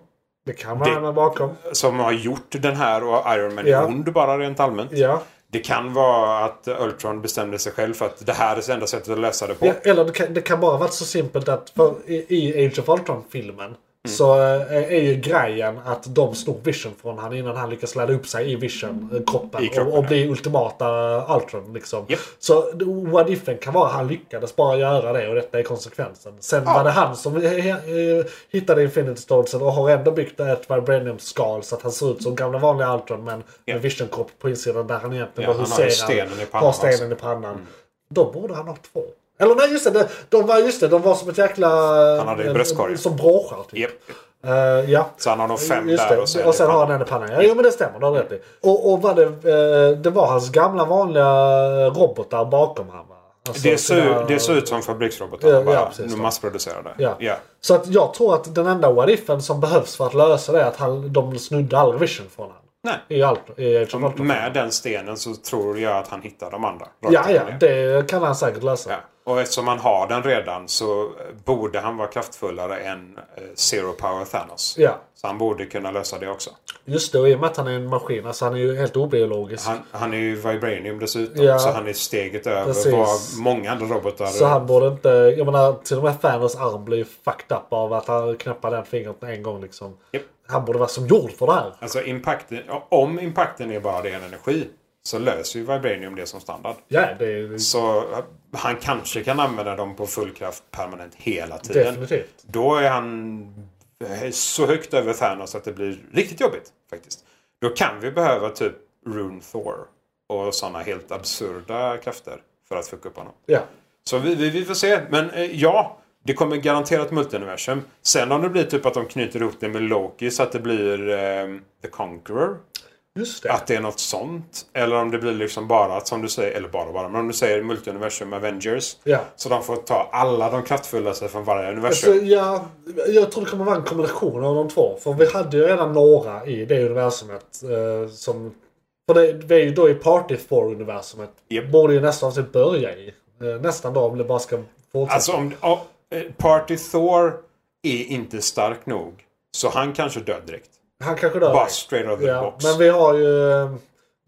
[SPEAKER 1] det kan vara det... bakom.
[SPEAKER 4] Som har gjort den här och Iron Man
[SPEAKER 1] Ja.
[SPEAKER 4] är ond bara rent allmänt.
[SPEAKER 1] Ja.
[SPEAKER 4] Det kan vara att Ultron bestämde sig själv för att det här är det enda sättet att lösa det på.
[SPEAKER 1] ja. Eller det kan, det kan bara varit så simpelt att för, i, i Age of Ultron-filmen
[SPEAKER 4] Mm.
[SPEAKER 1] Så eh, är ju grejen att de snor Vision från han innan han lyckas ladda upp sig i Vision, eh, kroppen.
[SPEAKER 4] I kroppen,
[SPEAKER 1] och, och
[SPEAKER 4] ja.
[SPEAKER 1] bli ultimata Ultron liksom.
[SPEAKER 4] Japp.
[SPEAKER 1] Så what ifen kan vara han lyckades bara göra det och detta är konsekvensen. Sen var det han som eh, eh, hittade Infinity Stonesen och har ändå byggt ett vibranium-skal så att han ser ut som gamla vanliga Ultron men med Vision-kropp på insidan där han egentligen
[SPEAKER 4] Ja,
[SPEAKER 1] bara
[SPEAKER 4] han har ju
[SPEAKER 1] huserar.
[SPEAKER 4] stenen i pannan
[SPEAKER 1] Har stenen i pannan.
[SPEAKER 4] Mm.
[SPEAKER 1] Då borde han ha två. Eller nej, just det. de- De var, just det, de var som ett jäkla...
[SPEAKER 4] Han hade ju bröstkorg.
[SPEAKER 1] Som bråkar typ.
[SPEAKER 4] Japp.
[SPEAKER 1] Eh, ja.
[SPEAKER 4] Så han har nog fem
[SPEAKER 1] Just
[SPEAKER 4] där
[SPEAKER 1] det.
[SPEAKER 4] och så är
[SPEAKER 1] och sen
[SPEAKER 4] det-
[SPEAKER 1] har han en i pannan. Ja, jo, men det stämmer. Det har du rätt i. Och, och vad det, eh, det var hans gamla vanliga eh, robotar bakom honom. va? Alltså
[SPEAKER 4] Det ser,
[SPEAKER 1] sina-
[SPEAKER 4] det ser ut som fabriksrobotar,
[SPEAKER 1] Ja, ja,
[SPEAKER 4] bara
[SPEAKER 1] precis så.
[SPEAKER 4] massproducerade.
[SPEAKER 1] Ja. Så att jag tror att den enda what-ifen som behövs för att lösa det är att han, de snudde all vision från honom.
[SPEAKER 4] Nej.
[SPEAKER 1] I allt. I Age of
[SPEAKER 4] Som
[SPEAKER 1] Ultron.
[SPEAKER 4] med den stenen så tror jag att han hittar de andra. Rakt
[SPEAKER 1] Ja, ja.
[SPEAKER 4] upp och ner.
[SPEAKER 1] Det kan han säkert lösa.
[SPEAKER 4] Ja. Och eftersom han har den redan så borde han vara kraftfullare än eh, Zero Power Thanos.
[SPEAKER 1] Ja.
[SPEAKER 4] Så han borde kunna lösa det också.
[SPEAKER 1] Just det, och i och med att han är en maskin. Alltså han är ju helt obiologisk.
[SPEAKER 4] Han, han är ju Vibranium dessutom,
[SPEAKER 1] Ja.
[SPEAKER 4] så han är steget över
[SPEAKER 1] Precis.
[SPEAKER 4] vad många andra robotar...
[SPEAKER 1] Så han borde inte... Jag menar, till och med Thanos arm blir ju fucked up av att han knappar den fingret en gång liksom.
[SPEAKER 4] Japp.
[SPEAKER 1] Han borde vara som jord för det här.
[SPEAKER 4] Alltså impacten, om impacten är bara ren energi så löser ju Vibranium det som standard.
[SPEAKER 1] Ja, det är
[SPEAKER 4] Så eh, han kanske kan använda dem på full kraft permanent hela tiden.
[SPEAKER 1] definitivt.
[SPEAKER 4] Då är han eh, så högt över Thanos att det blir riktigt jobbigt faktiskt. Då kan vi behöva typ Rune Thor och sådana helt absurda krafter för att fucka upp honom.
[SPEAKER 1] Ja.
[SPEAKER 4] Så vi, vi, vi får se. Men eh, ja, det kommer garanterat multiversum. Sen om det blir typ att de knyter ihop det med Loki så att det blir eh, The Conqueror.
[SPEAKER 1] Just det.
[SPEAKER 4] Att det är något sånt. Eller om det blir liksom bara att som du säger, eller bara bara, men om du säger multiversum Avengers.
[SPEAKER 1] Ja.
[SPEAKER 4] Så de får ta alla de kraftfullaste från varje
[SPEAKER 1] Alltså,
[SPEAKER 4] universum.
[SPEAKER 1] ja, jag tror det kommer vara en kombination av de två. För vi hade ju redan några i det universumet. Eh, som, för det, vi är ju då i Party 4-universumet.
[SPEAKER 4] Japp.
[SPEAKER 1] Borde ju nästan se börja i. Eh, nästan då om det bara ska fortsätta.
[SPEAKER 4] Alltså om... ja, eh, Party Thor är inte stark nog. Så han kanske dör direkt.
[SPEAKER 1] han kanske dör.
[SPEAKER 4] Bara straight out of the
[SPEAKER 1] ja,
[SPEAKER 4] box.
[SPEAKER 1] Men vi har ju... eh,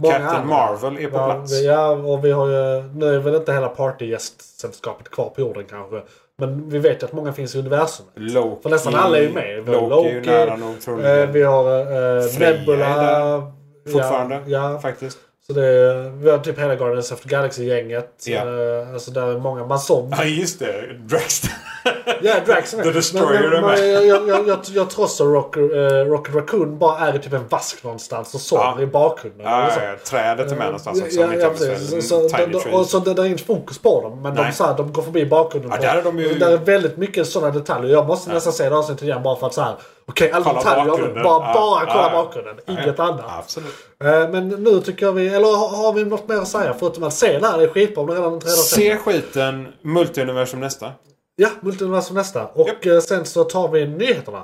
[SPEAKER 1] Många andra.
[SPEAKER 4] Captain Marvel är på
[SPEAKER 1] Ja,
[SPEAKER 4] plats.
[SPEAKER 1] vi- Ja, och vi har ju... Nu är väl inte hela partygästsällskapet kvar på jorden kanske. Men vi vet ju att många finns i universumet.
[SPEAKER 4] Loki.
[SPEAKER 1] För nästan alla är ju med. Vi har
[SPEAKER 4] Loki, är ju
[SPEAKER 1] Loki,
[SPEAKER 4] nära nog troligen.
[SPEAKER 1] Eh, vi har eh,
[SPEAKER 4] Freja är
[SPEAKER 1] Nebula.
[SPEAKER 4] Fortfarande.
[SPEAKER 1] Ja, ja.
[SPEAKER 4] Faktiskt.
[SPEAKER 1] Så det är, vi har typ hela Guardians of the Galaxy-gänget.
[SPEAKER 4] Ja.
[SPEAKER 1] Eh, alltså där är många. Man såg...
[SPEAKER 4] Ja, just det. Draxter.
[SPEAKER 1] Ja, Draxen.
[SPEAKER 4] The Destroyer är med.
[SPEAKER 1] jag, jag, jag, jag, jag tror också Rock, eh, Rocket Raccoon bara är i typ en vask någonstans och sover
[SPEAKER 4] Ja.
[SPEAKER 1] i bakgrunden. Alltså, eller
[SPEAKER 4] Ja,
[SPEAKER 1] så.
[SPEAKER 4] ja, ja, trädet är med någonstans också. om
[SPEAKER 1] Ja,
[SPEAKER 4] inte
[SPEAKER 1] ja,
[SPEAKER 4] jag minns
[SPEAKER 1] precis. Så,
[SPEAKER 4] fel. Tiny
[SPEAKER 1] de, de,
[SPEAKER 4] trees.
[SPEAKER 1] och så det, det är inte fokus på dem, men de,
[SPEAKER 4] Nej.
[SPEAKER 1] så här, de går förbi bakgrunden.
[SPEAKER 4] Ja,
[SPEAKER 1] på-
[SPEAKER 4] där är de ju-
[SPEAKER 1] där är väldigt mycket sådana detaljer. Jag måste nästan se det avsnittet igen bara för att så här. Okej, alla
[SPEAKER 4] Kolla
[SPEAKER 1] detaljer. jag vill
[SPEAKER 4] bakgrunden.
[SPEAKER 1] Bara,
[SPEAKER 4] Ja,
[SPEAKER 1] bara
[SPEAKER 4] ja,
[SPEAKER 1] kolla
[SPEAKER 4] ja.
[SPEAKER 1] bakgrunden. Inget annat.
[SPEAKER 4] Absolut.
[SPEAKER 1] Eh, Men nu tycker jag vi... Eller har, har vi något mer att säga förutom att se det här? Det är skitbra om du redan inte redan sett
[SPEAKER 4] Se skiten. Multiuniversum nästa.
[SPEAKER 1] Ja, Multiversum nästa. Och
[SPEAKER 4] Japp.
[SPEAKER 1] eh, sen så tar vi nyheterna.